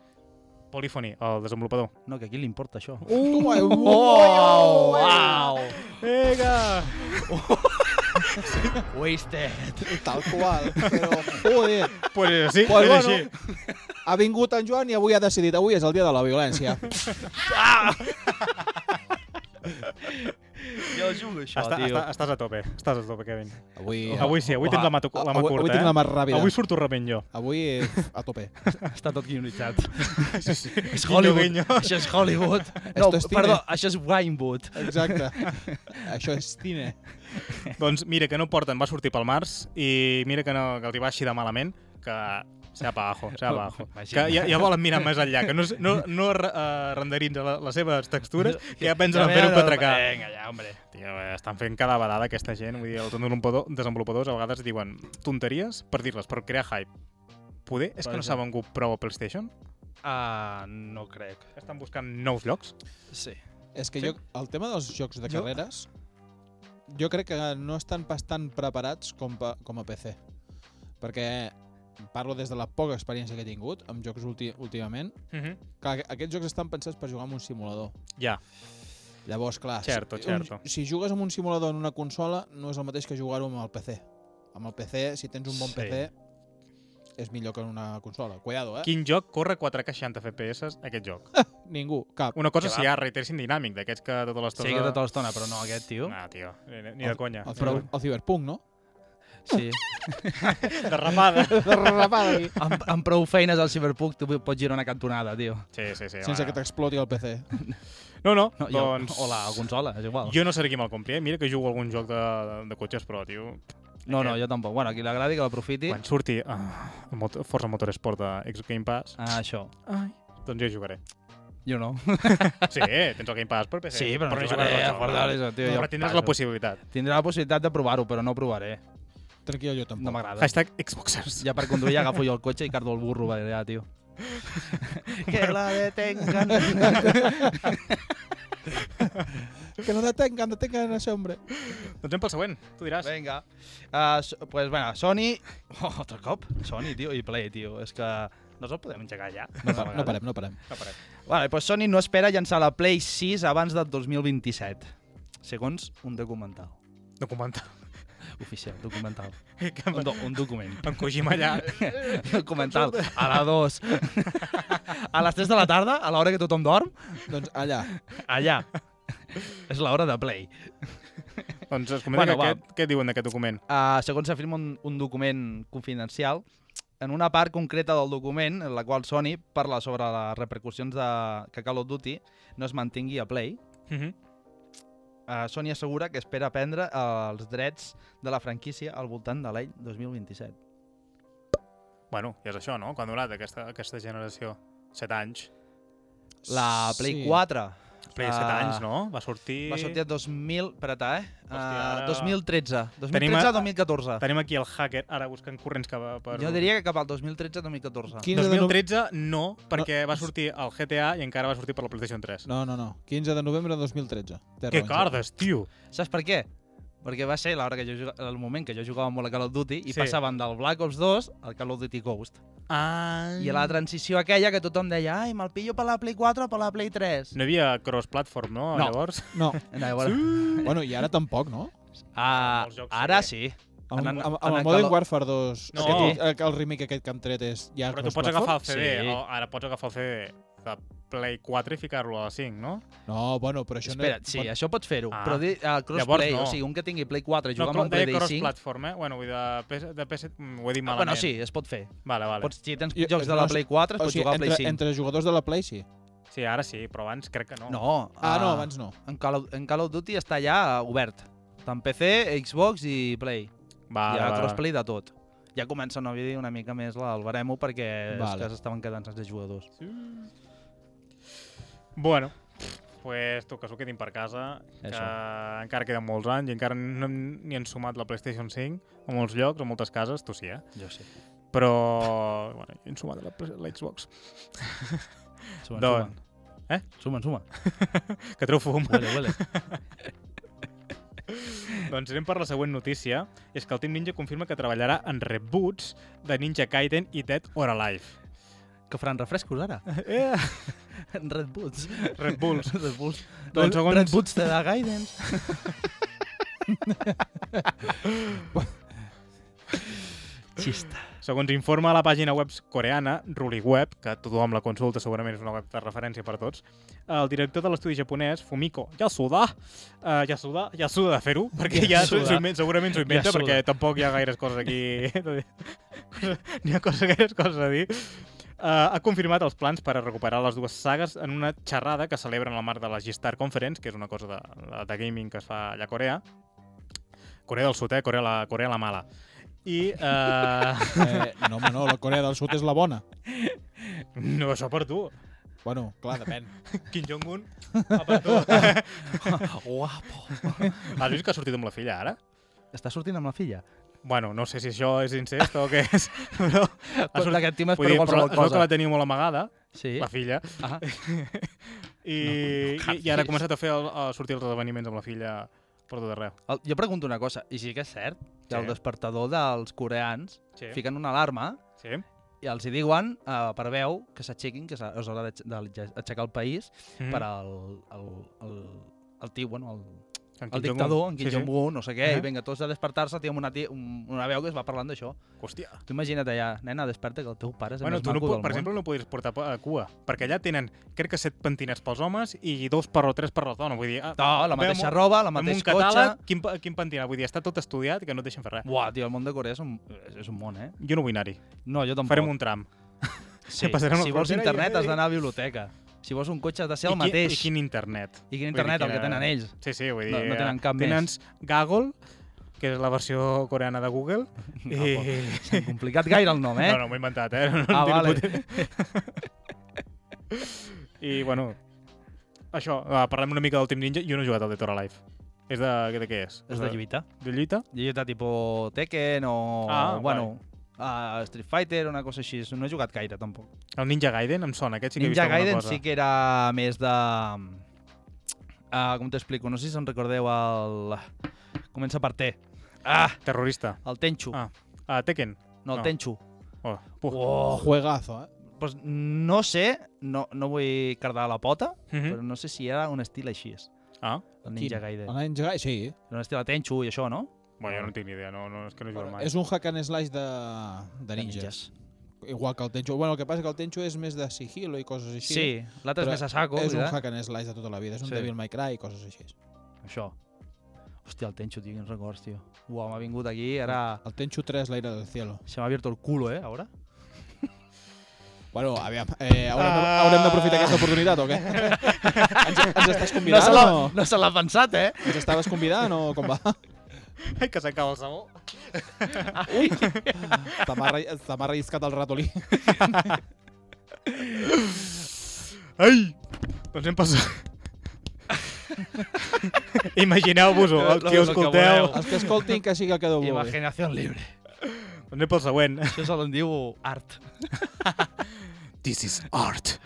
S2: Polyphony, el desenvolupador.
S3: No, que a qui li importa això?
S4: Tu, ai, uau,
S3: Oh,
S4: uau.
S3: wow!
S2: Vinga!
S3: Wasted.
S4: Tal qual, però, joder,
S2: Pues sí,
S4: Pues
S2: és
S4: bueno.
S2: així.
S4: ha vingut en Joan i avui ha decidit, avui és el dia de la violència.
S3: Jo jugo això,
S2: Està,
S3: tio.
S2: està, estàs a tope, estàs a tope, Kevin.
S4: Avui,
S2: Avui sí, avui tens la mà, tu- la mà
S4: Ah, avui,
S2: curta,
S4: avui tinc la
S2: eh?
S4: mà ràpida.
S2: Avui surto rebent jo.
S4: Avui eh, a tope.
S3: Està tot guionitzat.
S2: Sí, sí.
S3: És Hollywood.
S2: Guinyo, guinyo.
S3: Això és Hollywood. No,
S4: Esto es cine.
S3: perdó, això és Winewood.
S4: Exacte. Això és cine.
S2: doncs mira que no porten, va sortir pel març i mira que, no, que els hi va així de malament que sea pa abajo, sea pa abajo.
S3: Imagina.
S2: Que ja, ja volen mirar més enllà, que no, es- no, no uh, renderitza la, les seves textures, que ja pensen en fer-ho
S3: venen al-
S2: 4K.
S3: Vinga, ja, hombre.
S2: Tio, eh, estan fent cada vegada aquesta gent, vull dir, els desenvolupador- desenvolupadors a vegades diuen tonteries per dir-les, per crear hype. Poder, és
S3: Per
S2: que no
S3: exemple.
S2: s'ha vengut prou a PlayStation?
S3: Ah, no crec.
S2: Estan buscant nous llocs?
S3: Sí.
S4: És
S2: Sí.
S4: que jo, el tema dels jocs de
S3: Jo-
S4: carreres, jo crec que no estan pas tan preparats com, pa, com a PC. Perquè parlo des de la poca experiència que he tingut amb jocs ulti, últimament.
S2: Uh
S3: Mhm.
S2: -huh.
S4: Clar, aquests jocs estan pensats per jugar amb un simulador.
S2: Ja,
S4: Llavors, clar,
S2: Certo,
S4: si,
S2: certo.
S4: Un, si jugues amb un simulador en una consola, no és el mateix que jugar-ho amb el PC. Amb el PC, si tens un bon
S3: Sí.
S4: PC, és millor que en una consola. Cuidado, eh?
S2: quin joc corre 4K 60 FPS aquest joc?
S4: Ningú, cap.
S2: Una cosa
S3: Que
S2: si
S3: va.
S2: hi ha ray tracing dinàmic, d'aquests que tota l'estona...
S3: Sí que tota l'estona, però no aquest, tio.
S2: Ah, tio, ni ni de conya.
S4: El, ciber, el Cyberpunk, no?
S3: Sí.
S2: Derrapada.
S4: Derrapada aquí.
S3: amb, amb prou feines al Cyberpunk tu pots girar una cantonada, tio.
S2: Sí, sí, sí.
S4: Sense
S2: va.
S4: que t'exploti el PC.
S2: No, no,
S3: No, jo,
S2: doncs...
S3: O la consola, és igual.
S2: Jo no seré qui me'l compri, eh? mira que jugo a algun joc de, de cotxes, però, tio,
S3: no, no, jo tampoc. Bueno, a qui l'agradi que l'aprofiti.
S2: Eh. quan surti ah, el mot- Forza Motorsport de Xbox Game Pass,
S3: Ah, això.
S2: Ai. Doncs jo hi jugaré.
S3: Jo no.
S2: Sí, eh? tens el Game Pass per PC.
S3: Sí, però,
S2: no
S3: no
S2: jugaré
S3: jugaré a
S2: al
S3: Forza
S2: Forza.
S3: Horizon, tio.
S2: Però
S3: jo
S2: tindràs
S3: passo.
S2: la possibilitat.
S3: Tindré la possibilitat de provar-ho, però no provaré.
S4: Tranquil, jo tampoc.
S3: No m'agrada.
S2: Hashtag Xboxers.
S3: Ja per conduir ja agafo jo el cotxe i cardo el burro per allà, tio. que la detengan.
S4: Que no detengan, detengan a ese hombre.
S2: Doncs anem pel següent, tu diràs.
S3: Vinga. Uh, so, pues, bueno, Sony... Oh, altre cop? Sony, tio, i Play, tio. És que no se'l podem engegar ja.
S4: No, pa- no parem, no parem.
S2: No parem.
S3: Vale, pues Sony no espera llançar la Play 6 abans del 2027, segons un documental.
S2: Documenta.
S3: Oficial, documental.
S2: Que
S3: Un,
S2: en,
S3: do, un document.
S2: en Kojima allà...
S3: documental. A la 2. A les 3 de la tarda, a l'hora que tothom dorm,
S4: Doncs allà.
S3: allà. És l'hora de Play.
S2: Doncs es comenta
S3: Bueno,
S2: bueno,
S3: va.
S2: que, què, què diuen d'aquest document?
S3: Uh, segons afirma un, un document confidencial, en una part concreta del document, en la qual Sony parla sobre les repercussions de que Call of Duty no es mantingui a Play,
S2: Uh -huh.
S3: uh, Sony assegura que espera prendre eh, els drets de la franquícia al voltant de l'any 2027.
S2: Bueno, ja és això, no? Quan ha durat aquesta, aquesta generació? 7 anys.
S3: La Play
S4: Sí.
S3: sí. 4
S2: Play, 7
S3: Ah.
S2: anys, no? Va sortir...
S3: va sortir a 2000... Espera't, eh?
S2: Hòstia, ara-
S3: Uh, 2013.
S2: Tenim a-
S3: 2013 a 2014.
S2: Tenim aquí el hacker ara buscant corrents que va per...
S3: Jo diria que cap al 2013-2014.
S4: 15 de no...
S2: 2013 no, perquè va sortir al GTA i encara va sortir per la PlayStation 3.
S4: No, no, no. 15 de novembre de 2013. Terra
S2: Que
S4: Ranger.
S2: cardes, tio!
S3: Saps per què? Perquè va ser l'hora que jo jugava, el moment que jo jugava molt a Call of Duty i
S2: Sí.
S3: sí. passaven del Black Ops 2 al Call of Duty Ghost.
S2: Ah.
S3: Mm. I a la transició aquella que tothom deia ai, me'l pillo per la Play 4 o per la Play 3.
S2: No hi havia cross-platform, no?
S3: No.
S2: Llavors?
S4: No.
S3: No, bueno,
S4: Bueno, i ara tampoc, no?
S3: ah,
S2: Molts jocs,
S3: ara
S2: sí.
S3: sí.
S4: Amb,
S3: En-
S4: amb, amb,
S3: en
S4: el
S3: el
S4: Modern
S3: Call-
S4: Warfare 2,
S2: No.
S4: no. aquest, el, el remake aquest que han tret és... Ja
S2: Però tu pots agafar el
S4: cross-platform?
S2: CD,
S3: Sí.
S2: o ara pots agafar el CD de Play 4 i ficar-lo a la 5, no?
S4: No, bueno, però això
S3: Espera't,
S4: no...
S3: sí, això pots fer-ho.
S2: Ah.
S3: Ah. Però di, el
S2: Llavors
S3: crossplay,
S2: no.
S3: no. o sigui, un que tingui Play 4 i
S2: no,
S3: jugar
S2: com
S3: amb un Play
S2: deia
S3: 5...
S2: cross-platform, eh? Bueno, vull dir, de PS... De PS... Ho he dit
S3: Ah,
S2: malament.
S3: bueno, sí, es pot fer.
S2: Vale, vale.
S3: Vale. Pots, si tens
S4: Jo-
S3: jo, jocs de la
S4: no,
S3: Play 4, es
S4: eh, O
S3: pot
S4: sigui,
S3: jugar a Play
S4: entre,
S3: 5.
S4: entre jugadors de la Play, sí.
S2: Sí, ara sí, però abans crec que no.
S3: No.
S4: Ah, no, abans no.
S3: En Call, of, en Call of Duty està ja obert. Tant PC, Xbox i Play.
S2: Va,
S3: hi ha
S2: va, va.
S3: crossplay de tot. Ja comença a dir una mica més la- el baremo perquè
S4: Vale.
S3: vale. és que s'estaven quedant sense jugadors.
S2: Bueno, pues tu, que s'ho quedin per casa, que
S3: Això.
S2: encara queden molts anys i encara no hem, ni han sumat la PlayStation 5 a molts llocs, a moltes cases, tu sí, eh?
S3: Jo sé.
S2: Però, bueno, jo he ensumat la, Play- la Xbox.
S3: Sumen,
S2: Doncs-
S3: sumen.
S2: Eh?
S3: Sumen, sumen.
S2: Que treu fum.
S3: Huele, huele.
S2: doncs anem per la següent notícia. És que el Team Ninja confirma que treballarà en reboots de Ninja Gaiden i Dead or Alive.
S3: que faran refrescos ara?
S2: Eh,
S3: Red Bulls.
S2: Red Bulls.
S3: Red Bulls.
S2: Doncs
S3: Red,
S2: segons-
S3: Red Bulls de la Gaiden. Xista.
S2: Segons informa la pàgina web coreana, RuliWeb, que tothom la consulta, segurament és una web de referència per tots, el director de l'estudi japonès, Fumiko Yasuda, uh, Yasuda, Yasuda de fer-ho, perquè ja, s'ho-
S3: Yasuda.
S2: s'ho inven- segurament s'ho inventa,
S3: Yasuda.
S2: perquè tampoc hi ha gaires coses aquí... de dir. N'hi ha coses, gaires coses a dir. Uh, ha confirmat els plans per a recuperar les dues sagues en una xerrada que celebren al marc de la G-Star Conference, que és una cosa de, de gaming que es fa allà a Corea. Corea del Sud, eh? Corea la, Corea la mala. I... Uh,
S4: Eh, no, home, no, la Corea del Sud és la bona.
S2: No, això per tu.
S4: Bueno, clar, depèn.
S2: Kim Jong-un, va per tu. Has
S3: Guapo.
S2: vist que ha sortit amb la filla, ara?
S3: Està sortint amb la filla.
S2: Bueno, no sé si això és incest o què és, però... Ha sortit...
S3: D'aquest tema és
S2: Vull
S3: per
S2: dir, però
S3: qualsevol
S2: es veu que la
S3: cosa.
S2: tenia molt amagada,
S3: Sí.
S2: la filla,
S3: Ah.
S2: i,
S3: No, no
S2: i, i ara ha
S3: canvis.
S2: començat a fer el, a sortir els esdeveniments amb la filla per tot arreu.
S3: El, jo pregunto una cosa, i sí que és cert que
S2: Sí.
S3: el despertador dels coreans
S2: Sí,
S3: fiquen una alarma
S2: sí.
S3: i els hi diuen eh, per veu que s'aixequin, que s'ha- és hora d'aixecar el país
S2: Mm.
S3: mm. per al el, el, el tio, bueno, el,
S2: En Kim
S3: el
S2: Jong-un.
S3: dictador, en Kim
S2: Sí, sí.
S3: Jong-un, no sé què,
S2: Eh?
S3: i vinga, tots a despertar-se, té una, tia, un, una veu que es va parlant d'això.
S2: Hòstia.
S3: Tu imagina't allà, nena, desperta que el teu pare és el
S2: Bueno,
S3: més
S2: tu no,
S3: maco
S2: po-
S3: del
S2: per
S3: món.
S2: exemple, no podries portar pa- a cua, perquè allà tenen, crec que set pentinats pels homes i dos per o tres per les dones. Vull dir,
S3: No, la mateixa roba, la
S2: amb
S3: mateixa
S2: un
S3: cotxe...
S2: catàleg, quin, pa- quin pentinat? Vull dir, està tot estudiat i que no et deixen fer res.
S3: Buah, tio, el món de Corea és un, és, és un món, eh?
S2: Jo no vull anar-hi.
S3: No, jo tampoc.
S2: Farem un tram.
S3: Sí.
S2: passarem la
S3: Si vols
S2: frontera i-
S3: internet has d'anar a biblioteca. Si vols un cotxe has de ser el
S2: I qui-
S3: mateix.
S2: I quin internet.
S3: I quin
S2: Vull dir,
S3: internet, el
S2: quina-
S3: que tenen ells.
S2: Sí, sí, vull dir... eh,
S3: No- no tenen cap més.
S2: Tenen Gaggle, que és la versió coreana de Google. I...
S3: S'han complicat gaire el nom, eh?
S2: No, no, m'ho he inventat, eh? No,
S3: Ah,
S2: en tinc
S3: vale.
S2: puta- I, bueno, això, va, parlem una mica del Team Ninja. Jo no he jugat al Dead or Alive. És de... de què és?
S3: És de lluita.
S2: De lluita?
S3: Lluita tipus Tekken o...
S2: Ah,
S3: bueno, a Street Fighter o una cosa així. No he jugat gaire, tampoc.
S2: El Ninja Gaiden em sona, aquest sí que he
S3: Ninja
S2: vist alguna
S3: Gaiden
S2: cosa.
S3: sí que era més de... Ah, com t'explico? No sé si se'n recordeu el... Comença per T. Ah,
S2: Terrorista.
S3: el Tenchu.
S2: Ah, Ah, Tekken.
S3: no, el
S2: no.
S3: Tenchu.
S2: Oh, puf.
S3: Oh.
S4: Juegazo, eh?
S3: Pues no sé, no, no vull cardar la pota,
S2: Mhm.
S3: però no sé si era un estil així.
S2: Ah,
S3: El Ninja Gaiden.
S4: El Ninja Gaiden, sí.
S3: Era un estil de Tenchu i això, no?
S2: bueno, jo no tinc ni idea, no, no, és que no he jugat mai.
S4: És un hack and slash de, de
S3: De
S4: ninjas. Igual que el Tenchu. Bueno, el que passa és que el Tenchu és més de sigilo i coses així.
S3: Sí, l'altre és
S4: Però
S3: més a saco,
S4: és un
S3: veritat?
S4: hack and slash de tota la vida. És un
S3: Sí.
S4: sí. Devil May Cry i coses així.
S3: Això. Hòstia, el Tenchu, tio, quins records, tio. Uau, m'ha vingut aquí, ara...
S4: El Tenchu 3, l'ira del cielo.
S3: Se m'ha abierto el culo, eh, ara?
S4: Bueno, aviam, eh, haurem, de,
S3: Ah.
S4: haurem d'aprofitar aquesta oportunitat o què? ens, ens estàs
S3: No se
S4: convidant
S3: l'ha
S4: o no?
S3: no se l'ha pensat, eh?
S4: Ens estaves convidant o com va?
S2: Ai, que s'acaba el sabó.
S4: Se m'ha re- se m'ha relliscat el ratolí.
S2: Ai! Doncs hem passat. Imagineu-vos-ho,
S3: Lo-
S2: el
S3: lo
S2: que ho
S3: que
S2: escolteu.
S3: voleu.
S4: Els que escoltin que sí que quedo molt bé.
S3: Imaginació libre.
S2: Doncs anem pel següent.
S3: Això se l'en diu art.
S2: This is art.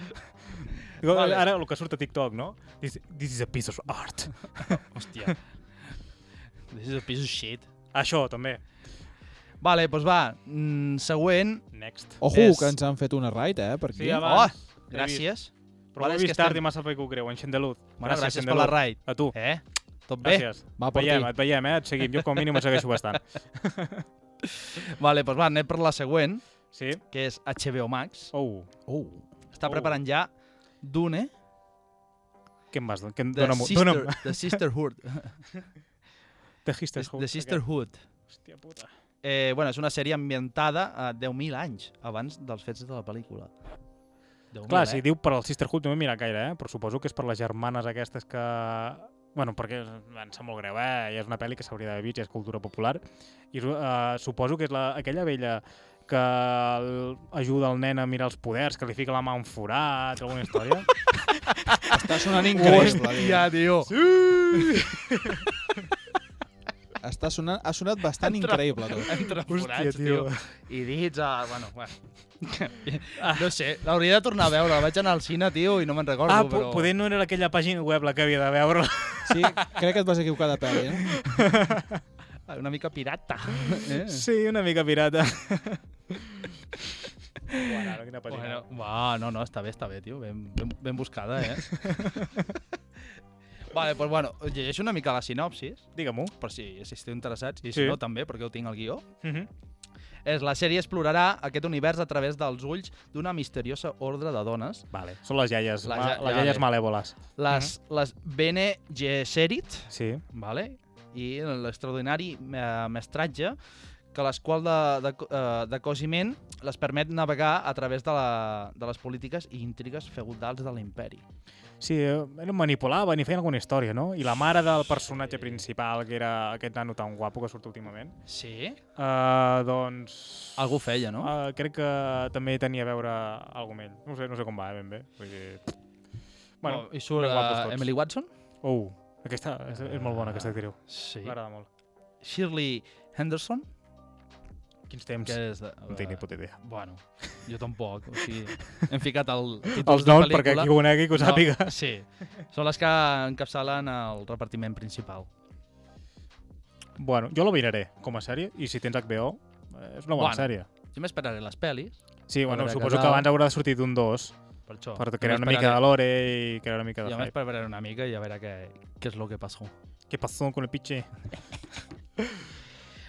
S3: Vale.
S2: Vale. Ara el que surt a TikTok, no? This, this is a piece of art.
S3: Hòstia. This is a piece of shit.
S2: Això, també.
S3: Vale, doncs va, mm, següent.
S2: Next.
S4: Ojo,
S3: És-
S4: que ens han fet una raid, eh, per aquí.
S2: Sí,
S3: Oh,
S2: abans. he
S3: gràcies.
S2: vist. Però ho
S3: Vale,
S2: he
S3: és que
S2: vist tard
S3: estem-
S2: i m'ha sabut greu, en Xendelut.
S3: Bueno, gràcies per la
S2: Xendelut.
S3: raid.
S2: A tu.
S3: Eh? Tot bé?
S2: Gràcies.
S4: Va,
S2: Et
S4: per
S2: veiem,
S4: ti.
S2: et veiem, eh? Et seguim. Jo com a mínim et segueixo bastant.
S3: Vale, doncs va, anem per la següent,
S2: Sí?
S3: que és HBO Max.
S2: Oh.
S4: Oh.
S3: Està
S2: Oh.
S3: preparant ja Dune,
S2: Què em vas? Què em...
S3: The,
S2: Dóna'm,
S3: Sister,
S2: dóna'm.
S3: the Sisterhood.
S2: The Sisterhood.
S3: The
S2: aquest.
S3: Sisterhood.
S2: Hòstia puta.
S3: Eh, bueno, és una sèrie ambientada a 10.000 anys abans dels fets de la pel·lícula. 10.000,
S2: Clar, si diu per al Sisterhood no m'he mirat gaire, eh? però suposo que és per les germanes aquestes que... Bueno, perquè em sap molt greu, eh? I és una pel·li que s'hauria d'haver vist, i és cultura popular. I uh, suposo que és la, aquella vella que el- ajuda el nen a mirar els poders, que li fica la mà a un forat, alguna història.
S4: Està sonant increïble.
S3: Hòstia, tio. Sí.
S4: Està sonant, ha sonat bastant increïble tot.
S3: Entre
S2: Hòstia,
S3: forats, tio.
S2: tio.
S3: I dits a... Bueno, bueno.
S2: Ah.
S3: No sé, l'hauria de tornar a veure. Vaig anar al cine, tio, i no me'n recordo,
S2: Ah,
S3: però...
S2: po poder no era aquella pàgina web la que havia de veure.
S4: Sí, crec que et vas equivocar de pel·li, eh?
S3: Una mica pirata. Eh?
S2: Sí, una mica pirata. Bueno, ara, quina pàgina.
S3: Bueno, va, no, no, està bé, està bé, tio. Ben, ben, ben buscada, eh? vale, doncs, bueno, llegeixo una mica la sinopsis,
S2: Digue'm-ho.
S3: per si, si esteu interessats, i si
S2: Sí.
S3: no, també, perquè ho tinc al guió.
S2: Uh -huh.
S3: És, la sèrie explorarà aquest univers a través dels ulls d'una misteriosa ordre de dones,
S2: Vale. Són les iaies, les,
S3: Les
S2: ma
S3: ja-
S2: les iaies
S3: ja-
S2: malèvoles.
S3: les,
S2: Mhm.
S3: les Bene Gesserit,
S2: Sí.
S3: vale? i l'extraordinari eh, mestratge que les qual de, de, eh, de cosiment les permet navegar a través de, la, de les polítiques i intrigues feudals de l'imperi.
S2: Sí, eh, eren manipulaven i feien alguna història, no? I la mare del personatge principal, que era aquest nano tan guapo que surt últimament,
S3: Sí?
S2: uh, doncs...
S3: Algú feia, no?
S2: Uh, crec que també tenia a veure alguna amb ell. No ho sé, no sé com va, eh, ben bé. Vull dir... Bueno,
S3: I surt
S2: ben guapos
S3: uh,
S2: tots.
S3: Emily Watson?
S2: Oh, aquesta és, és molt bona, aquesta actriu.
S3: Sí.
S2: M'agrada molt.
S3: Shirley Henderson?
S2: Quins temps?
S3: Que és de,
S2: No tinc ni puta idea.
S3: Bueno, jo tampoc. O sigui, hem ficat el títol
S2: Els noms, perquè qui ho conegui, que ho sàpiga.
S3: Tota No, sí. Són les que encapçalen el repartiment principal.
S2: Bueno, jo la miraré com a sèrie, i si tens HBO, eh, és una bona
S3: Bueno.
S2: sèrie.
S3: Jo m'esperaré les pel·lis,
S2: Sí, bueno,
S3: veure què
S2: suposo que
S3: tal.
S2: abans haurà de sortir d'un dos,
S3: per això.
S2: per
S3: Jo
S2: crear una mica
S3: m'esperaré-
S2: de lore i crear una mica de
S3: Jo
S2: hype.
S3: m'esperaré una mica i a veure què, què és lo que passó.
S2: ¿Qué pasó con el pitxer?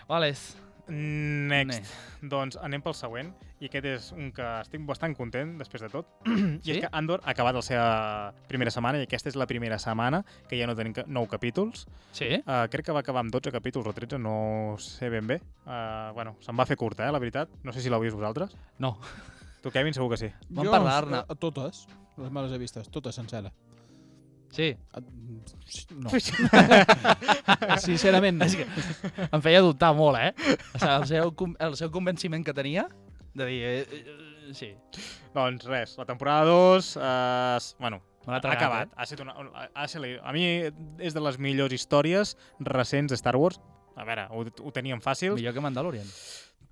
S3: Vale, és-
S2: Next.
S3: Ne.
S2: Doncs anem pel següent, i aquest és un que estic bastant content després de tot. I
S3: Sí?
S2: és que Andor ha acabat la seva primera setmana, i aquesta és la primera setmana que ja no tenim ca- nou capítols.
S3: Sí?
S2: Uh, crec que va acabar amb 12 capítols o 13, no sé ben bé. Uh, bueno, se'n va fer curta, eh, la veritat. No sé si l'heu vist vosaltres.
S3: No.
S2: Tu, Kevin, segur que sí.
S3: Vam
S4: Jo,
S3: parlar-ne.
S4: eh, Totes, les me les he vistes, totes sencera.
S3: Sí.
S4: No. Sincerament, no.
S3: Em feia dubtar molt, eh? O sigui, el seu, con- el seu convenciment que tenia de dir... eh, eh, eh, Sí.
S2: doncs res, la temporada 2... Uh, bueno,
S3: Me l'ha
S2: ha
S3: tragat, eh?
S2: acabat. Ha estat una, una- ha estat, a mi és de les millors històries recents de Star Wars. A veure, ho, ho teníem
S3: Eh?
S2: fàcil.
S3: Millor que Mandalorian.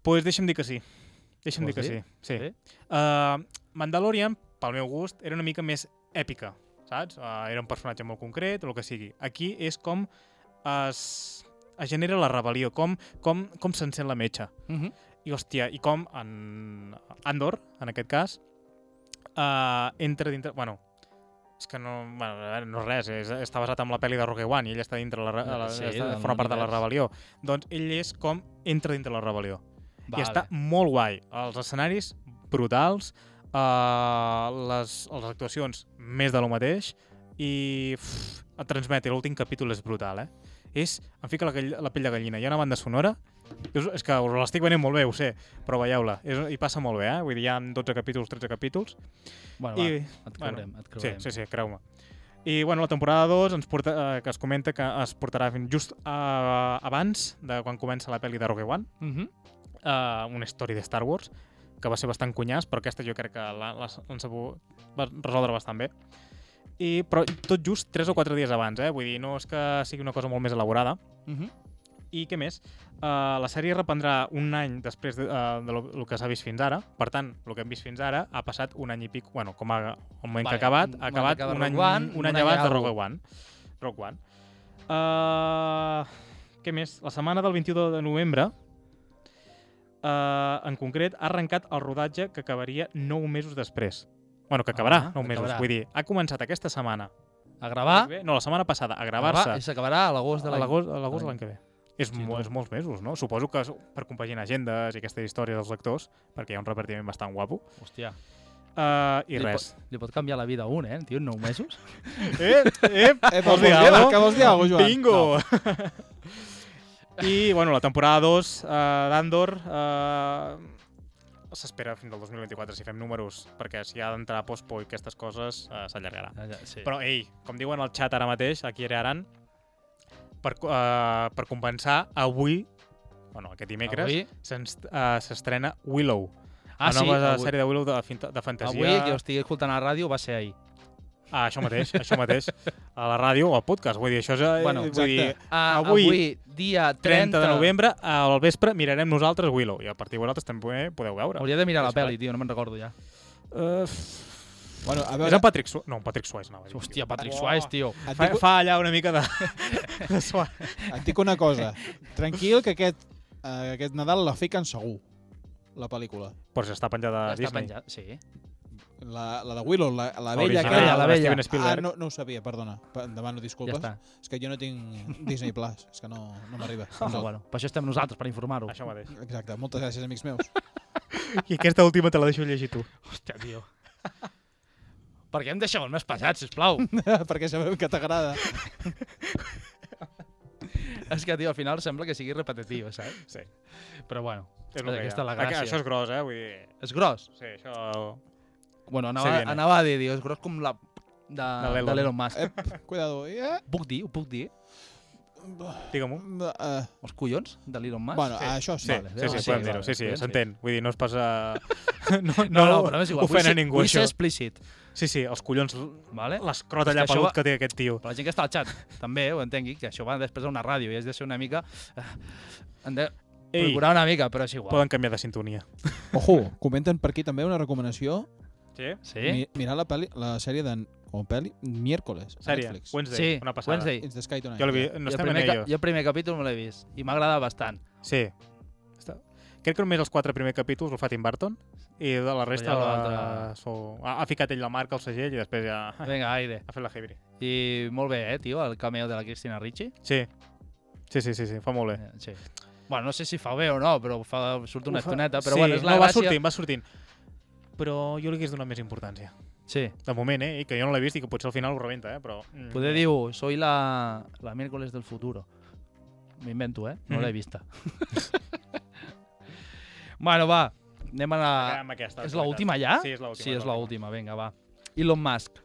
S2: pues deixa'm dir que sí. Deixa'm dir
S3: Vols
S2: que sí.
S3: dir?
S2: sí.
S3: Sí?
S2: Uh, Mandalorian, pel meu gust, era una mica més èpica, saps? Uh, era un personatge molt concret, o el que sigui. Aquí és com es, es genera la rebel·lió, com, com, com s'encén la metxa.
S3: Mm -hmm.
S2: I, hòstia, i com en Andor, en aquest cas, uh, entra dintre... Bueno, és que no, bueno, a veure, no és res, és, està basat en la pel·li de Rogue One i ell està dintre la, re-
S3: Ah,
S2: la,
S3: sí,
S2: sí, està,
S3: d'un
S2: forma part de la
S3: univers.
S2: rebel·lió. Doncs ell és com entra dintre la rebel·lió. I està molt guai. Els escenaris, brutals. Uh, les, les actuacions, més de lo mateix. I uf, et transmet. I l'últim capítol és brutal, eh? És, em fica la, gall- la pell de gallina. Hi ha una banda sonora. És, és que us l'estic venent molt bé, ho sé, però veieu-la. És- I passa molt bé, eh? Vull dir, hi ha 12 capítols, 13 capítols.
S3: Bueno, va,
S2: I,
S3: et creurem, et
S2: sí,
S3: creurem.
S2: sí, sí, creu-me. I bueno, la temporada 2 ens porta, eh, que es comenta que es portarà fins just eh, abans de quan comença la pel·li de Rogue One
S3: Mm -hmm.
S2: eh, una història de Star Wars que va ser bastant cunyàs, però aquesta jo crec que la- la- l'han sabut va resoldre bastant bé. I, però tot just 3 o 4 dies abans, eh? vull dir, no és que sigui una cosa molt més elaborada.
S3: Mm
S2: Mhm.
S3: -hmm.
S2: I què més? Uh, la sèrie reprendrà un any després de, uh, de lo, lo que s'ha vist fins ara. Per tant, el que hem vist fins ara ha passat un any i pic, bueno, com a, el moment
S3: Vale,
S2: que ha acabat,
S3: quan
S2: ha acabat
S3: acaba
S2: un any,
S3: Rogue One,
S2: un any abans de Rogue One. Rogue One. Uh, què més? La setmana del 22 de novembre, uh, en concret, ha arrencat el rodatge que acabaria 9 mesos després. Bueno, que acabarà Ah.
S3: Ah,
S2: 9 mesos.
S3: acabarà.
S2: Vull dir, ha començat aquesta setmana.
S3: A gravar,
S2: Bé, No, la setmana passada, a gravar-se.
S3: gravar i s'acabarà a l'agost de
S2: A
S3: l'any.
S2: l'agost a l'agost
S3: de
S2: de l'any
S3: l'any.
S2: que ve. És,
S3: Hosti,
S2: mo
S3: tu.
S2: és molts mesos, no? Suposo que és per compaginar agendes i aquestes històries dels lectors, perquè hi ha un repartiment bastant guapo.
S3: Hòstia.
S2: Uh, I
S3: li
S2: res.
S3: Pot, li pot canviar la vida a un, eh, tio, en nou mesos?
S2: Eh, eh,
S4: Eh, vols dir alguna cosa? Vols dir alguna cosa, Joan?
S2: Bingo! I, bueno, la temporada 2 uh, d'Andor uh, s'espera fins al 2024, si fem números, perquè si ha d'entrar pospo i aquestes coses, uh, s'allargarà.
S3: Ah, ja, sí.
S2: Però, ei, com diuen al xat ara mateix, aquí a Aran, per, uh, per compensar, avui, bueno, aquest dimecres,
S3: Avui,
S2: s'ens- eh, s'estrena Willow.
S3: ah,
S2: la
S3: sí,
S2: nova
S3: avui,
S2: sèrie de Willow de, finta- de fantasia.
S3: avui que ho estigui escoltant a la ràdio va ser ahir.
S2: Ah, això mateix, això mateix. A la ràdio o al podcast. Vull dir, això és... eh,
S4: Bueno,
S2: vull dir,
S4: exacte.
S3: Ah,
S2: Avui,
S3: avui, avui, dia 30,
S2: 30 de novembre, al vespre, mirarem nosaltres Willow. I a partir de vosaltres també podeu veure.
S3: Hauria de mirar la
S2: Espera.
S3: pel·li, tio, no me'n recordo ja.
S2: Uh,
S4: Bueno, a
S2: és
S4: veure,
S2: en Patrick Swayze? No, en Patrick Swayze anava a dir.
S3: Hòstia, Patrick
S2: Uah.
S3: Suárez, tio.
S4: et
S2: Fa,
S4: dic,
S2: fa allà una mica de... de Swayze.
S4: et dic una cosa. Tranquil, que aquest, eh, aquest Nadal la fiquen segur, la pel·lícula.
S2: Però s'està penjada a
S3: Ja està
S2: Ah, Disney.
S3: penjat, sí.
S4: La, la de Willow, la, la vella
S2: Original,
S4: aquella.
S3: la
S2: de
S3: vella.
S2: Steven
S4: Ah,
S2: Spielberg.
S4: no, no ho sabia, perdona. Pa- Demano
S3: Ja
S4: disculpes.
S3: està.
S4: És que jo no tinc Disney Plus, és que no, no m'arriba.
S3: Però, Doncs, bueno, per això estem nosaltres, per informar-ho.
S2: Això mateix.
S4: Exacte, moltes gràcies, amics meus.
S2: I aquesta última te la deixo llegir tu.
S3: Hòstia, tio. per què em deixeu el més pesat, sisplau?
S4: perquè sabem que t'agrada.
S3: és que, tio, al final sembla que sigui repetitiu, saps?
S2: Sí.
S3: Però bueno,
S2: És el que hi ha.
S3: aquesta és la gràcia.
S2: Això és gros, eh? Vull dir...
S3: és gros.
S2: Sí, això...
S3: Bueno,
S2: Se
S3: anava,
S2: viene.
S3: anava a dir, diu, és gros com la de, de
S2: l'Elon.
S3: l'Elon Musk. Eh.
S4: Ep, cuidado. Eh?
S3: Puc dir, ho puc dir?
S2: Digue-m'ho.
S4: Eh,
S3: Els collons de l'Elon Musk?
S4: bueno,
S2: Sí.
S4: això sí.
S2: Sí,
S3: Vale,
S2: sí, sí, sí, podem
S3: vale, Ah, sí,
S2: dir-ho.
S3: vale,
S2: Sí, sí, eh?
S3: podem
S2: s'entén. Vull dir, no es passa... No, no,
S3: no, no, però és igual.
S2: ofèn a
S3: vull ser-
S2: ningú,
S3: vull
S2: això.
S3: ser explícit,
S2: Sí, sí, els collons,
S3: vale?
S2: l'escrot
S3: És que
S2: allà
S3: això
S2: pelut
S3: va-
S2: que té aquest tio.
S3: Per la gent que està al xat, també, ho entengui, que això va després d'una ràdio i has de ser una mica... Eh, hem de
S2: Ei,
S3: procurar una mica, però és igual.
S2: poden canviar de sintonia.
S4: Ojo, comenten per aquí també una recomanació.
S2: Sí?
S3: Sí?
S4: Mi, mirar la, peli, la sèrie de... O peli? Miércoles. a
S2: Sèrie,
S4: Netflix.
S2: Wednesday,
S3: sí,
S2: una passada.
S3: Wednesday.
S4: It's the Sky Tonight.
S2: Jo l'he vist,
S4: ja.
S2: no
S3: jo, el
S2: estem en
S3: primer, ca-
S2: ello.
S3: jo el primer capítol me l'he vist i m'ha agradat bastant.
S2: Sí. Està... Crec que només els quatre primers capítols el fa Tim Burton i de la resta
S3: ja
S2: la...
S3: l'altre-
S2: sou- ha, ha ficat ell la marca al segell i després ja ha
S3: Vinga, aire.
S2: fet la heavy.
S3: I molt bé, eh, tio, el cameo de la Cristina Ricci.
S2: Sí. Sí, sí, sí, sí, fa molt bé.
S3: Eh, Sí. Bueno, no sé si fa bé o no, però fa, surt una
S2: Ho fa-
S3: estoneta, però
S2: sí,
S3: bueno, és la
S2: no, va
S3: gràcia...
S2: sortint, va sortint. Però jo li hagués donat més importància.
S3: Sí.
S2: De moment, eh? I que jo no l'he vist i que potser al final ho rebenta, eh? Però... mm,
S3: Poder diu, soy la, la miércoles del futuro. M'invento, eh? No
S2: Mhm.
S3: l'he vista. bueno, va, anem a la...
S2: acabem amb aquesta,
S3: Ah, És
S2: la veritat.
S3: l'última ja?
S2: Sí, és l'última.
S3: Sí, és l'última, vinga, va. Elon Musk.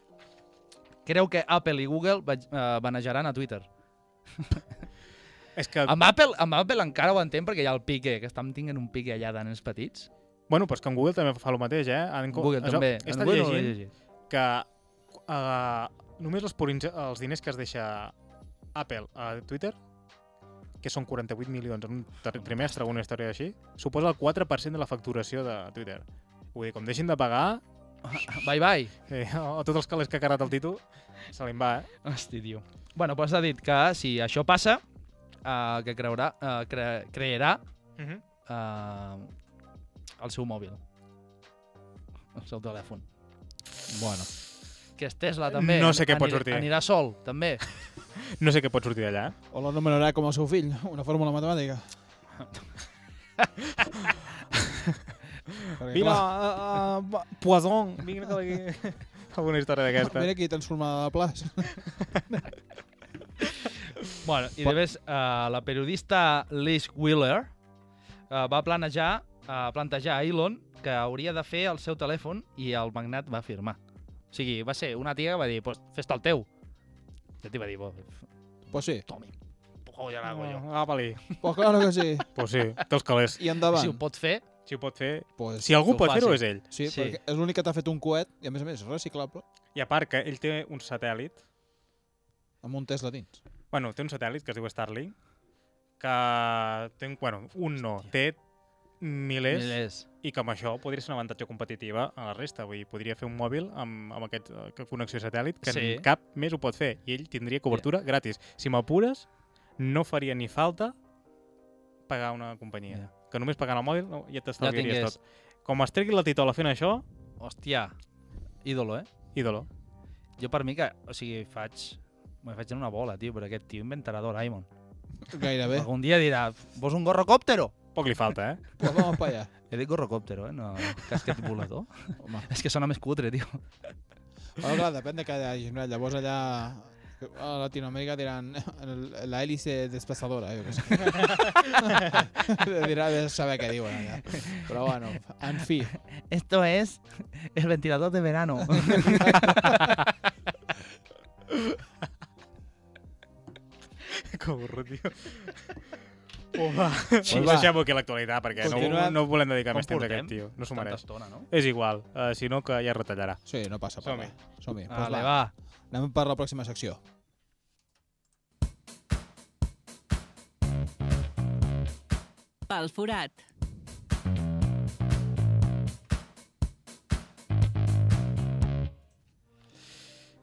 S3: Creu que Apple i Google vaig- eh, banejaran a Twitter.
S2: És que,
S3: Amb Apple, amb Apple encara ho entenc perquè hi ha el pique, que estan tinguent un pique allà de nens petits.
S2: bueno, però és que en Google també fa el mateix, eh? En, co-
S3: Google
S2: això,
S3: també.
S2: He
S3: En
S2: estat
S3: Google no l'he
S2: llegint
S3: llegit.
S2: que eh, uh, només els, porin, els diners que es deixa Apple a Twitter, que són 48 milions en un ter- trimestre o una història així, suposa el 4% de la facturació de Twitter. Vull dir, com deixin de pagar,
S3: Bye, bye.
S2: eh, o tots els calés que ha carregat el títol, se li en va, eh?
S3: Hosti, tio. Bueno, doncs ha dit que si això passa, eh, que creurà, eh, cre crearà
S2: Uh
S3: Mhm.
S2: -huh.
S3: eh, el seu mòbil. El seu telèfon.
S4: Bueno.
S3: Que és Tesla, també.
S2: No sé què pot
S3: Anirà-
S2: sortir.
S3: Anirà sol, també.
S2: No sé què pot sortir d'allà. eh?
S4: O l'anomenarà com el seu fill, una fórmula matemàtica. Perquè,
S2: Vine,
S4: clar,
S2: uh, uh, Poison, vine cap aquí. Alguna història d'aquesta.
S4: mira aquí transformada la plaça.
S3: Bueno, i després, eh, la periodista Liz Wheeler eh, va planejar eh, plantejar a Elon que hauria de fer el seu telèfon i el magnat va firmar. O sigui, va ser una tia que va dir, pues, fes-te el teu. I el tio va dir, pues,
S4: Pues sí,
S3: tomi, jo ja l'hago jo.
S2: Ah, vali.
S4: pues claro que sí.
S2: Pues sí, té els calés.
S4: I
S3: Si ho
S4: endavant.
S3: pot fer,
S2: Si ho pot fer...
S4: Pues,
S2: Si algú
S3: Que ho
S2: pot fer-ho
S3: faci.
S2: és ell.
S4: sí,
S3: sí.
S4: sí, perquè és l'únic que t'ha fet un coet, i a més a més, reciclable,
S2: I a part que ell té un satèl·lit,
S4: amb un Tesla dins.
S2: bueno, té un satèl·lit que es diu Starlink, que té, un- bueno, un no, té milers, milers,
S3: milers.
S2: i que amb això podria ser una avantatge competitiva a la resta. Vull dir, podria fer un mòbil amb, amb aquest eh, connexió satèl·lit que sí.
S3: Sí.
S2: cap més ho pot fer i ell tindria cobertura yeah. gratis. Si m'apures, no faria ni falta pagar una companyia.
S3: Ja.
S2: Yeah. Que només pagant el mòbil no, ja
S3: Ja
S2: t'estalviaries
S3: tingués.
S2: tot. Com es tregui la titola fent això,
S3: Hòstia, ídolo, eh?
S2: ídolo.
S3: Jo per mi que, o sigui, faig... Me faig en una bola, tio, però aquest tio inventarà Doraemon.
S4: Gairebé.
S3: Algun dia dirà, vols un gorrocòptero?
S2: Poc li falta, eh?
S4: Pues vamos pa allà.
S3: He dit gorrocòptero, eh? No, casquet volador.
S4: Home.
S3: És que sona més cutre, tio.
S4: Però clar, depèn de què hi hagi. Mira, Llavors allà a Latinoamèrica diran el- la hélice desplaçadora, eh, jo què sé. Dirà de saber què diuen allà. Però bueno, en fi,
S3: Esto es el ventilador de verano.
S2: que avorrit, tio. Home, sí,
S4: va.
S2: deixem-ho aquí a l'actualitat, perquè no,
S4: Continuem.
S2: no volem dedicar
S3: Com
S2: més temps a
S3: portem?
S2: aquest tio. No s'ho
S3: Tanta
S2: mereix.
S3: estona, no?
S2: És igual, uh, si no que ja es retallarà.
S4: sí, no passa per
S2: Som-hi.
S4: res. Som-hi. Doncs
S3: Vale,
S4: va,
S3: va.
S4: anem per la pròxima secció.
S1: Pel forat.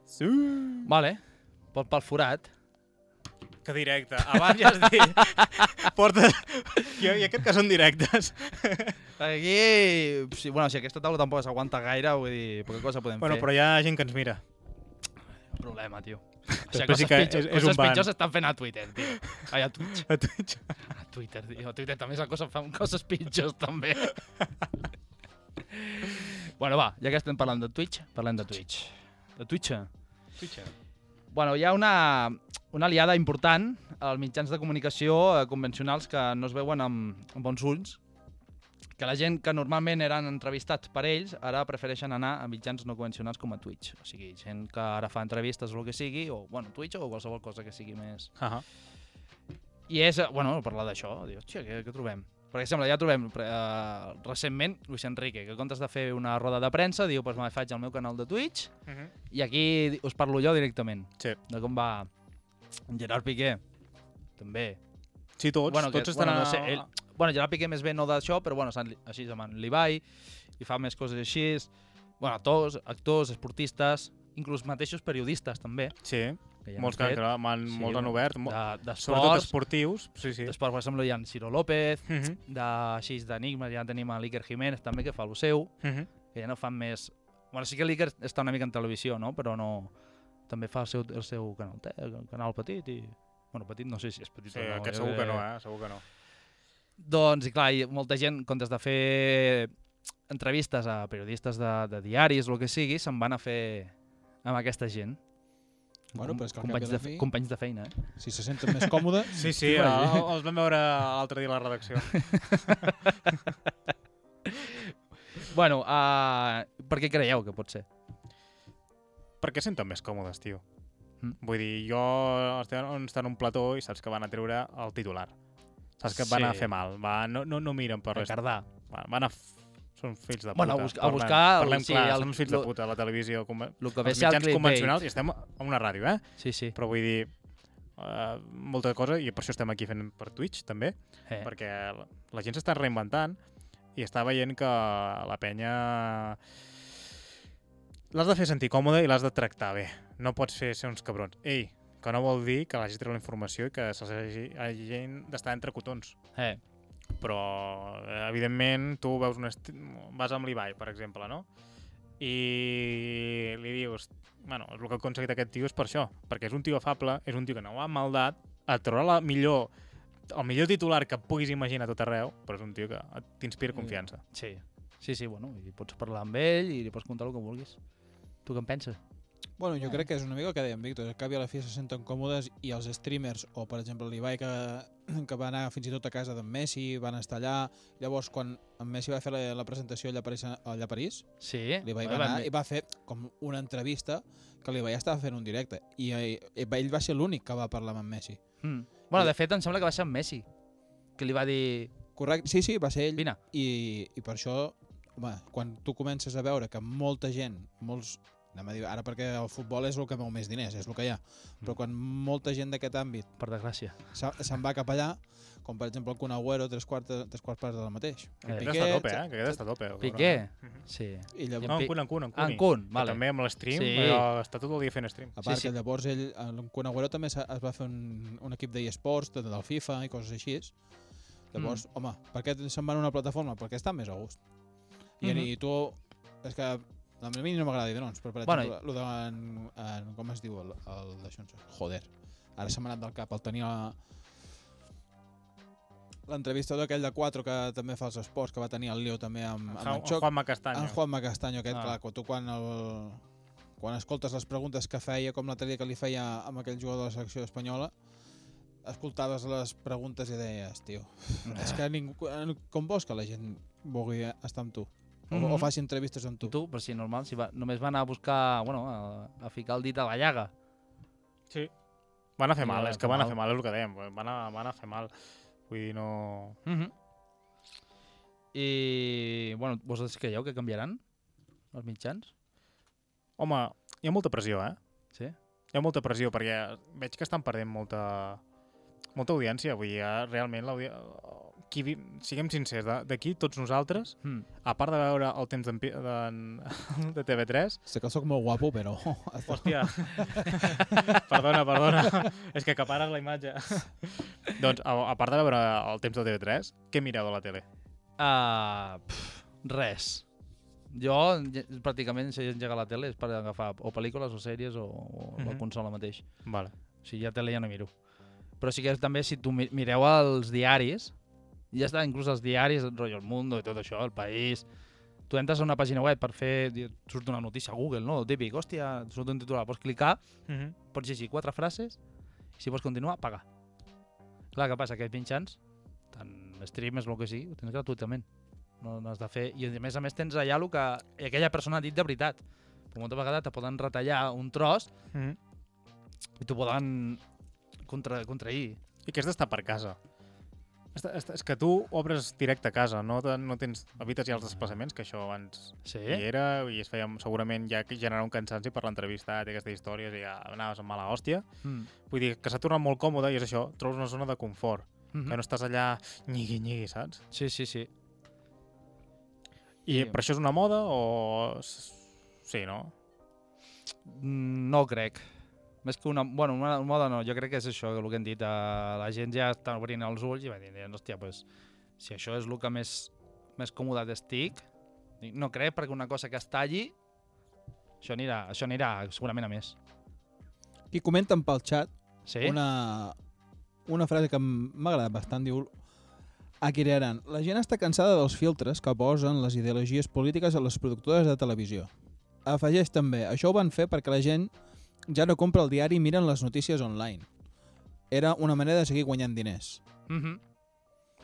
S2: Sí.
S3: Vale. Pot pel forat.
S2: Que directe. Abans ja has dit... Porta... Jo, jo crec que són directes.
S3: Aquí... Sí, bueno, si aquesta taula tampoc s'aguanta gaire, vull dir, poca cosa podem
S2: Bueno, però
S3: fer.
S2: hi ha gent que ens mira.
S3: Però... Problema, tio. O sigui,
S2: Després sí
S3: coses,
S2: que
S3: pitjors,
S2: és- és un
S3: coses
S2: ban.
S3: pitjors s'estan fent a Twitter, tio. Ai, a Twitch.
S2: A Twitch.
S3: A Twitter, tio. A Twitter també s'han cosa, fan coses pitjors, també. bueno, va, ja que estem parlant de Twitch, parlem de Twitch. De Twitch.
S2: Twitch.
S3: Bueno, hi ha una, una aliada important als mitjans de comunicació eh, convencionals que no es veuen amb, amb bons ulls, que la gent que normalment eren entrevistats per ells ara prefereixen anar a mitjans no convencionals com a Twitch. O sigui, gent que ara fa entrevistes o el que sigui, o bueno, Twitch o qualsevol cosa que sigui més...
S2: Uh -huh.
S3: I és, eh, bueno, parlar d'això, dir, hòstia, què, què trobem? Per exemple, ja trobem eh, recentment Luis Enrique, que en comptes de fer una roda de premsa, diu, doncs me faig al meu canal de Twitch,
S2: Uh -huh.
S3: i aquí us parlo jo directament.
S2: Sí.
S3: De com va en Gerard Piqué. També.
S2: Sí, tots. Bueno, tots estan...
S3: bueno, no
S2: a-
S3: sé, ell, bueno, Gerard Piqué més bé no d'això, però bueno, estan li- així amb en Levi, i fa més coses així. Bueno, actors, actors, esportistes, inclús mateixos periodistes també.
S2: Sí,
S3: Que ja
S2: molts que
S3: han
S2: han,
S3: fet,
S2: creat, han,
S3: Sí,
S2: molts han
S3: bueno,
S2: obert. Mo...
S3: de,
S2: Sobretot
S3: d'esports,
S2: esportius. Sí, sí.
S3: d'esports, per exemple, hi ha en Ciro López,
S2: Uh -huh.
S3: de, així d'enigmes ja tenim a l'Iker Jiménez també que fa el seu,
S2: Uh -huh.
S3: que ja no fan més... Bueno, sí que l'Iker està una mica en televisió, no? Però no... També fa el seu, el seu canal, te- el canal petit i... Bueno, petit no sé si és petit
S2: Sí,
S3: o no.
S2: aquest
S3: jo
S2: segur que
S3: crec-
S2: no, eh? Segur que no.
S3: Doncs, i clar, i molta gent, en comptes de fer entrevistes a periodistes de, de diaris o el que sigui, se'n van a fer amb aquesta gent.
S4: Bueno,
S3: Com-
S4: però és que al
S3: companys,
S4: cap i a
S3: de,
S4: la fi-
S3: companys de feina, eh?
S4: Si se senten més còmode,
S2: Sí, sí,
S3: Sí,
S2: el,
S3: vaja.
S2: els vam veure l'altre dia a la redacció.
S3: Bueno, uh, per què creieu que pot ser?
S2: perquè es senten més còmodes, tio.
S3: Mm.
S2: Vull dir, jo estan, estan en un plató i saps que van a treure el titular. Saps que van a
S3: Sí.
S2: fer mal, va, no, no, no miren per
S3: Per
S2: res.
S3: cardar.
S2: Van, van a... f- Són fills de puta.
S3: Bueno, a buscar- a
S2: Parlem-
S3: buscar el-
S2: Parlem
S3: sí,
S2: clar,
S3: el-
S2: són uns fills
S3: lo-
S2: de puta, la televisió. Com...
S3: Lo que ve
S2: Els
S3: ser el
S2: mitjans
S3: clickbait.
S2: convencionals, i estem a una ràdio, eh?
S3: Sí, sí.
S2: Però vull dir, eh, eh, molta cosa, i per això estem aquí fent per Twitch, també,
S3: Eh.
S2: perquè la- la gent s'està reinventant i està veient que la penya... L'has de fer sentir còmode i l'has de tractar bé. No pots fer ser uns cabrons. Ei, que no vol dir que l'hagis tret la informació i que se'ls hagi, hagi gent d'estar entre cotons.
S3: Eh.
S2: Però, eh, evidentment, tu veus un esti... vas amb l'Ibai, per exemple, no? I li dius... Bueno, el que ha aconseguit aquest tio és per això, perquè és un tio afable, és un tio que no ho ha maldat, et traurà la millor el millor titular que et puguis imaginar a tot arreu, però és un tio que et- t'inspira
S3: Mm.
S2: confiança.
S3: Sí. Sí, sí, bueno, i pots parlar amb ell i li pots contar el que vulguis. Tu què en penses?
S4: Bueno, jo crec que és una mica el que dèiem, Víctor. Al cap i a la fi se senten còmodes i els streamers, o per exemple l'Ibai, que, que va anar fins i tot a casa d'en Messi, van estar allà. Llavors, quan en Messi va fer la, la presentació allà a París, allà a París
S3: Sí.
S4: l'Ibai va
S3: Bueno,
S4: anar
S3: van-
S4: i va fer com una entrevista que l'Ibai estava fent un directe. I, eh, ell va ser l'únic que va parlar amb en Messi.
S3: Mm. Bueno, de fet, em sembla que va ser en Messi que li va dir...
S4: Correcte, sí, sí, va ser ell.
S3: Vine.
S4: I, i per això, home, quan tu comences a veure que molta gent, molts, anem a dir, ara perquè el futbol és el que mou més diners, és el que hi ha,
S3: Mm.
S4: però quan molta gent d'aquest àmbit
S3: Per desgràcia.
S4: se- se'n va cap allà, com per exemple el Kun Agüero, tres quartes, tres quarts parts del mateix.
S3: Eh,
S2: Aquest està a tope, eh? Que aquest està a tope.
S3: Piqué?
S2: Mhm.
S3: Sí.
S4: I llavors,
S2: No, en Kun, en Kun, en
S3: Ah,
S2: Kun.
S3: en Kun,
S2: Vale.
S3: vale.
S2: També amb l'stream,
S3: Sí.
S2: sí. està tot el dia fent stream.
S4: A part
S3: Sí,
S4: sí,
S3: sí.
S4: sí. que llavors ell, el Kun Agüero també s'ha- es va fer un, un equip d'eSports, de, del FIFA i coses així. Llavors, mm. home, per què se'n van a una plataforma? Perquè estan més a gust. I, mm
S3: Mhm.
S4: -hmm. i tu... És que a mi no m'agrada dir noms, però per
S3: Bueno,
S4: exemple, bueno, de, en, en, com es diu el, el d'això? Joder, ara se m'ha anat del cap. El tenia l'entrevistador aquell de 4 que també fa els esports, que va tenir el Leo també amb, amb
S2: Ja-
S4: en Xoc.
S2: Juanma Castanyo.
S4: En Juanma Castanyo, aquest,
S3: Ah.
S4: ah. clar, tu quan el... Quan escoltes les preguntes que feia, com l'altre dia que li feia amb aquell jugador de la selecció espanyola, escoltaves les preguntes i deies, tio, és que ningú, com vols que la gent vulgui estar amb tu? O,
S3: Mhm.
S4: o faci entrevistes amb tu?
S3: Tu, però sí, normal, si va, només va anar a buscar, bueno, a, a ficar el dit a la llaga.
S2: Sí. Van a fer
S3: Sí,
S2: mal,
S3: van
S2: és
S3: a
S2: que
S3: fer
S2: van a
S3: mal.
S2: fer mal, és el que dèiem. Van a, van a fer mal. Vull dir, no...
S3: Mm
S4: Mhm.
S3: -hmm. I, bueno, vosaltres creieu que canviaran els mitjans?
S2: Home, hi ha molta pressió, eh?
S3: Sí?
S2: Hi ha molta pressió, perquè veig que estan perdent molta, molta audiència. Vull dir, eh, realment, l'audi- qui vi... siguem sincers, de- d'aquí tots nosaltres,
S3: Mm.
S2: a part de veure el temps d'en Pi- d'en- de TV3,
S4: Sé que sóc molt guapo, però...
S2: Hòstia. perdona, perdona. És que acapares la imatge. doncs, a, a part de veure el temps de TV3, què mireu de la tele?
S3: Uh, pf, res. Jo ja- pràcticament si engega la tele és per agafar o pel·lícules o sèries o, o la
S2: Mhm.
S3: consola mateix.
S2: Vale.
S3: O sigui, ja tele ja no miro. Però sí que és, també si tu mi- mireu els diaris, ja està, inclús els diaris, el rotllo El Mundo i tot això, El País... Tu entres a una pàgina web per fer... dir- Surt una notícia a Google, no? El típic, hòstia, surt un titular, pots clicar,
S2: Uh -huh.
S3: pots llegir quatre frases, i si vols continuar, paga. Clar, què passa? Aquests mitjans, tant streamers, el que sigui, ho tens gratuïtament. No n'has de fer... I a més a més tens allà el que aquella persona ha dit de veritat. Però molta vegada te poden retallar un tros
S2: Uh -huh.
S3: i t'ho poden contra, contrair.
S2: I que has d'estar per casa. Està, està, és que tu obres directe a casa, no, te, no tens, evites ja els desplaçaments, que això abans
S3: Sí?
S2: eh? hi era, i es feia segurament ja que generar un cansanci per l'entrevista, té aquestes històries, i ja ah, anaves amb mala hòstia.
S3: Mm.
S2: Vull dir que s'ha tornat molt còmode i és això, trobes una zona de confort,
S3: Mm
S2: que no estàs allà nyigui-nyigui, saps?
S3: Sí, sí, sí.
S2: I
S3: Sí.
S2: per això és una moda o... s- Sí, no?
S3: Mm, No ho crec. Més que una... Bueno, una moda no, jo crec que és això el que hem dit. eh, la gent ja està obrint els ulls i va dir, hòstia, pues, si això és el que més, més còmode estic, dic, no crec perquè una cosa que es talli, això anirà, això anirà segurament a més.
S4: Aquí comenten pel xat
S3: Sí?
S4: una, una frase que m- m'ha agradat bastant, diu... Aquí Aran, la gent està cansada dels filtres que posen les ideologies polítiques a les productores de televisió. Afegeix també, això ho van fer perquè la gent ja no compra el diari i miren les notícies online. Era una manera de seguir guanyant diners.
S3: Mm -hmm.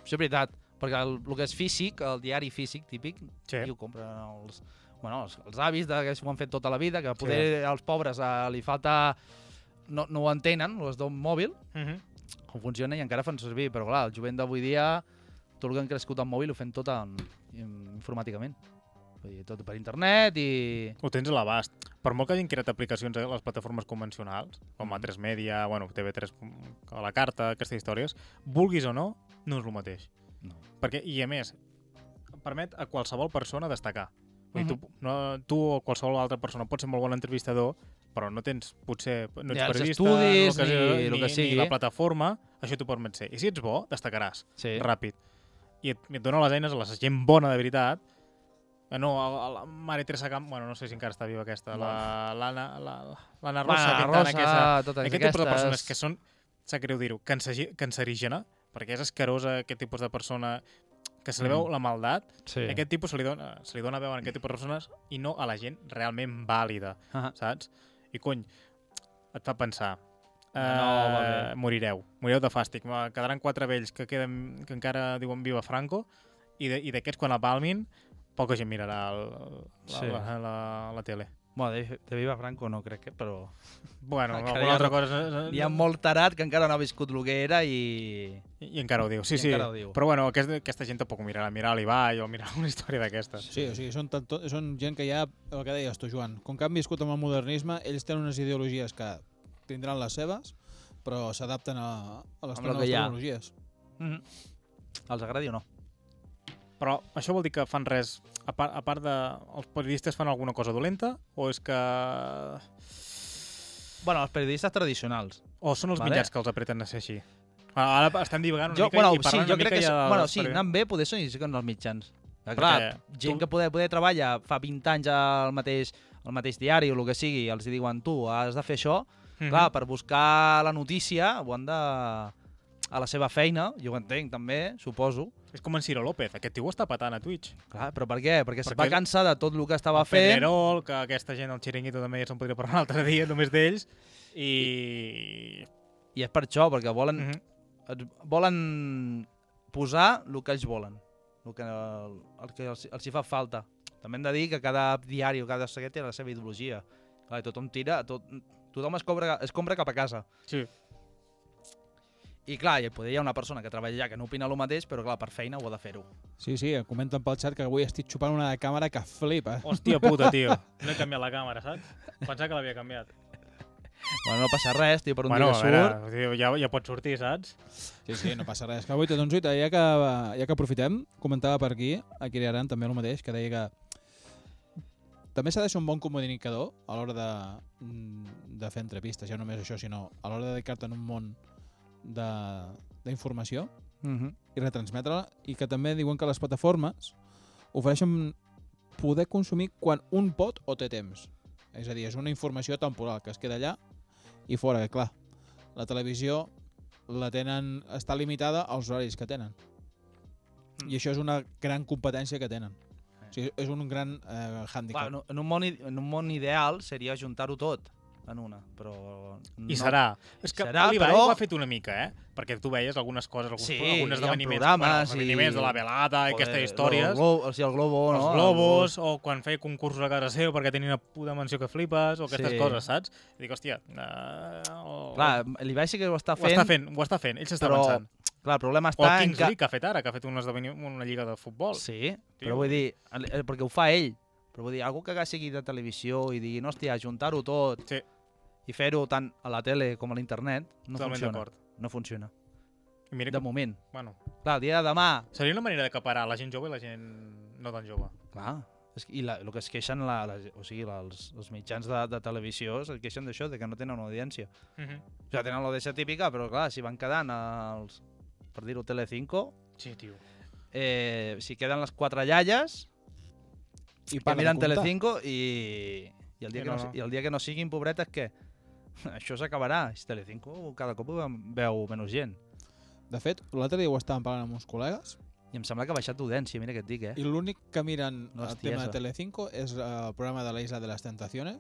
S3: Això és veritat, perquè el, el que és físic, el diari físic típic,
S2: Sí.
S3: i ho compren els, bueno, els, els avis de, que ho han fet tota la vida, que poder sí. als pobres eh, li falta... No, no ho entenen, els d'un mòbil,
S2: Uh -huh.
S3: com funciona i encara fan servir, però clar, el jovent d'avui dia, tot el que han crescut amb mòbil ho fem tot en, en, informàticament. Vull dir, tot per internet i...
S2: Ho tens a l'abast. per molt que hagin creat aplicacions a les plataformes convencionals, com
S3: Mm-hmm.
S2: a 3 Media, bueno, TV3 a la carta, aquestes històries, vulguis o no, no és el mateix.
S3: No.
S2: Perquè, I a més, permet a qualsevol persona destacar. Vull dir,
S3: Mm-hmm.
S2: tu, no, tu o qualsevol altra persona pots ser molt bon entrevistador, però no tens, potser, no ets
S3: Ni els
S2: periodista,
S3: estudis,
S2: no el que,
S3: ni
S2: sigui,
S3: el que sigui.
S2: ni la plataforma, això t'ho permet ser. I si ets bo, destacaràs
S3: Sí.
S2: ràpid. I et, i et dona les eines a la gent bona, de veritat. Eh, No, a, a la Mare Teresa Camp... Bueno, no sé si encara està viva aquesta. La, l'Anna la, la, la Rosa,
S3: Rosa,
S2: Quintana, aquesta.
S3: totes
S2: eh, Aquest tipus de persones
S3: aquestes.
S2: que són... Sap greu dir-ho, canceri- cancerígena, perquè és escarosa aquest tipus de persona que se li veu
S3: Mm.
S2: la maldat,
S3: Sí.
S2: sí. aquest tipus se li, dona, se li dona veu a aquest tipus de persones i no a la gent realment vàlida,
S3: Ah,
S2: saps? I cony, et fa pensar.
S3: Ah, No, va
S2: eh, morireu, morireu de fàstic. Va, Quedaran quatre vells que, queden, que encara diuen viva Franco i de- i d'aquests quan apalmin poca gent mirarà el, la,
S3: Sí.
S2: la, la, la, la tele.
S3: Bueno, de, de Viva Franco no crec que, però...
S2: Bueno,
S3: Encara
S2: alguna
S3: hi ha-
S2: altra cosa... eh,
S3: Hi ha molt tarat que encara no ha viscut el que era i...
S2: I, I encara ho diu, sí,
S3: I
S2: sí.
S3: encara ho diu.
S2: Però bueno, aquesta, aquesta gent tampoc ho mirarà. Mirarà l'Ibai o mirarà una història d'aquestes.
S4: Sí, o sigui, són, tanto, són gent que ja, el que deies tu, Joan, com que han viscut amb el modernisme, ells tenen unes ideologies que tindran les seves, però s'adapten a, a les
S3: Amb el
S4: noves
S3: que hi ha.
S4: tecnologies.
S3: Mm.
S2: Mm-hmm.
S3: Els agradi o no?
S2: Però això vol dir que fan res... A part, a part de... Els periodistes fan alguna cosa dolenta? O és que...
S3: Bueno, els periodistes tradicionals.
S2: O són els
S3: Vale.
S2: vale. mitjans que els apreten a ser així? Ara, ara estem divagant una
S3: Jo,
S2: mica
S3: bueno,
S2: i
S3: sí,
S2: parlant
S3: jo
S2: una
S3: crec
S2: mica
S3: que...
S2: ja...
S3: Ja
S2: de
S3: bueno,
S2: les
S3: sí,
S2: peri-
S3: anant bé, poder són com els mitjans. Clar, gent
S2: tu-
S3: que poder, poder treballa fa 20 anys al mateix, al mateix diari o el que sigui, els hi diuen tu, has de fer això,
S2: Mhm.
S3: Clar, per buscar la notícia ho han de... a la seva feina, jo ho entenc també, suposo.
S2: És com en Ciro López, aquest tio ho està patant a Twitch.
S3: Clar, però per què? Perquè, Perquè es
S2: Perquè-
S3: va cansar de tot el que estava fent.
S2: Pedrerol, que aquesta gent, el Chiringuito també ja se'n podria parlar un altre dia, només d'ells. I...
S3: I és per això, perquè volen,
S2: Mhm.
S3: mm. volen posar el que ells volen, el que, el, el que els, els hi fa falta. També hem de dir que cada diari o cada seguet té la seva ideologia. Clar, i tothom tira, tot, tothom es, cobra, es compra cap a casa.
S2: Sí.
S3: I clar, i poder hi ha una persona que treballa allà que no opina el mateix, però clar, per feina ho ha de fer-ho.
S4: Sí, sí, em comenten pel xat que avui estic xupant una de càmera que flipa.
S2: Hòstia puta, tio. No he canviat la càmera, saps? Pensava que l'havia canviat.
S3: Bueno, no passa res, tio, per un
S2: bueno,
S3: dia
S2: a
S3: que
S2: veure,
S3: surt.
S2: tio, ja, ja pot sortir, saps?
S4: Sí, sí, no passa res. Que avui tot un zuit, ja que, ja que aprofitem, comentava per aquí, a Kiri Aran també el mateix, que deia que també s'ha de ser un bon comunicador a l'hora de, mm, de fer entrevistes, ja no només això, sinó a l'hora de dedicar-te en un món de- d'informació
S3: Mm -hmm.
S4: i retransmetre-la, i que també diuen que les plataformes ofereixen poder consumir quan un pot o té temps. És a dir, és una informació temporal que es queda allà i fora, que clar, la televisió la tenen, està limitada als horaris que tenen.
S3: Mm.
S4: I això és una gran competència que tenen. O sigui, és un gran eh,
S3: Clar,
S4: hàndicap.
S3: en, en, un món, i- en un món ideal seria juntar-ho tot en una, però...
S2: I
S3: no.
S2: serà. És que
S3: Serà,
S2: l'Ibai
S3: però-
S2: ho ha fet una mica, eh? Perquè tu veies algunes coses, alguns,
S3: Sí,
S2: alguns
S3: hi ha
S2: esdeveniments,
S3: programes
S2: bueno, esdeveniments
S3: i-
S2: de la velada i aquestes històries,
S3: El globo, o sigui, el globo, no?
S2: els
S3: El
S2: globos, o quan feia concursos a casa seu perquè tenia una puta mansió que flipes, o aquestes
S3: Sí.
S2: coses, saps? I dic, hòstia, uh, o...
S3: Globo. Clar, l'Ibai sí que ho està
S2: ho
S3: fent,
S2: està fent, ho està fent, ell s'està
S3: però...
S2: avançant.
S3: Clar, el problema
S2: O el
S3: està en
S2: Kings
S3: que...
S2: League que ha fet ara, que ha fet un esdeveni- una lliga de futbol.
S3: Sí,
S2: Tio.
S3: però vull dir, el- eh, perquè ho fa ell, però vull dir, algú que sigui de televisió i digui, hòstia, juntar-ho tot
S2: Sí.
S3: i fer-ho tant a la tele com a l'internet, no
S2: Totalment
S3: funciona.
S2: d'acord.
S3: No funciona,
S2: I Mira
S3: de
S2: que,
S3: moment.
S2: bueno,
S3: Clar, el dia de demà
S2: Seria una manera d'acaparar la gent jove i la gent no tan jove.
S3: Clar, és, que- i la, el que es queixen la, la, o sigui, la, els, els mitjans de, de televisió es queixen d'això, de que no tenen audiència.
S2: Mm -hmm.
S3: O sigui, tenen l'audiència típica, però clar, si van quedant els, per dir-ho, Telecinco,
S2: Sí, tio.
S3: eh, si queden les quatre iaies,
S4: I
S3: que
S4: para de
S3: miren
S4: comptar.
S3: Telecinco i, i, el dia
S2: Sí,
S3: que no,
S2: no,
S3: si-
S2: no.
S3: i el dia que no siguin pobretes, què? Això s'acabarà. Si Telecinco cada cop ho ve- veu menys gent.
S4: De fet, l'altre dia ho estàvem parlant amb uns col·legues
S3: I em sembla que ha baixat d'audiència, mira què et dic, eh?
S4: i l'únic que miren
S3: No,
S4: el
S3: hòstia,
S4: tema de
S3: esa.
S4: Telecinco és eh, el programa de la Isla de las Tentaciones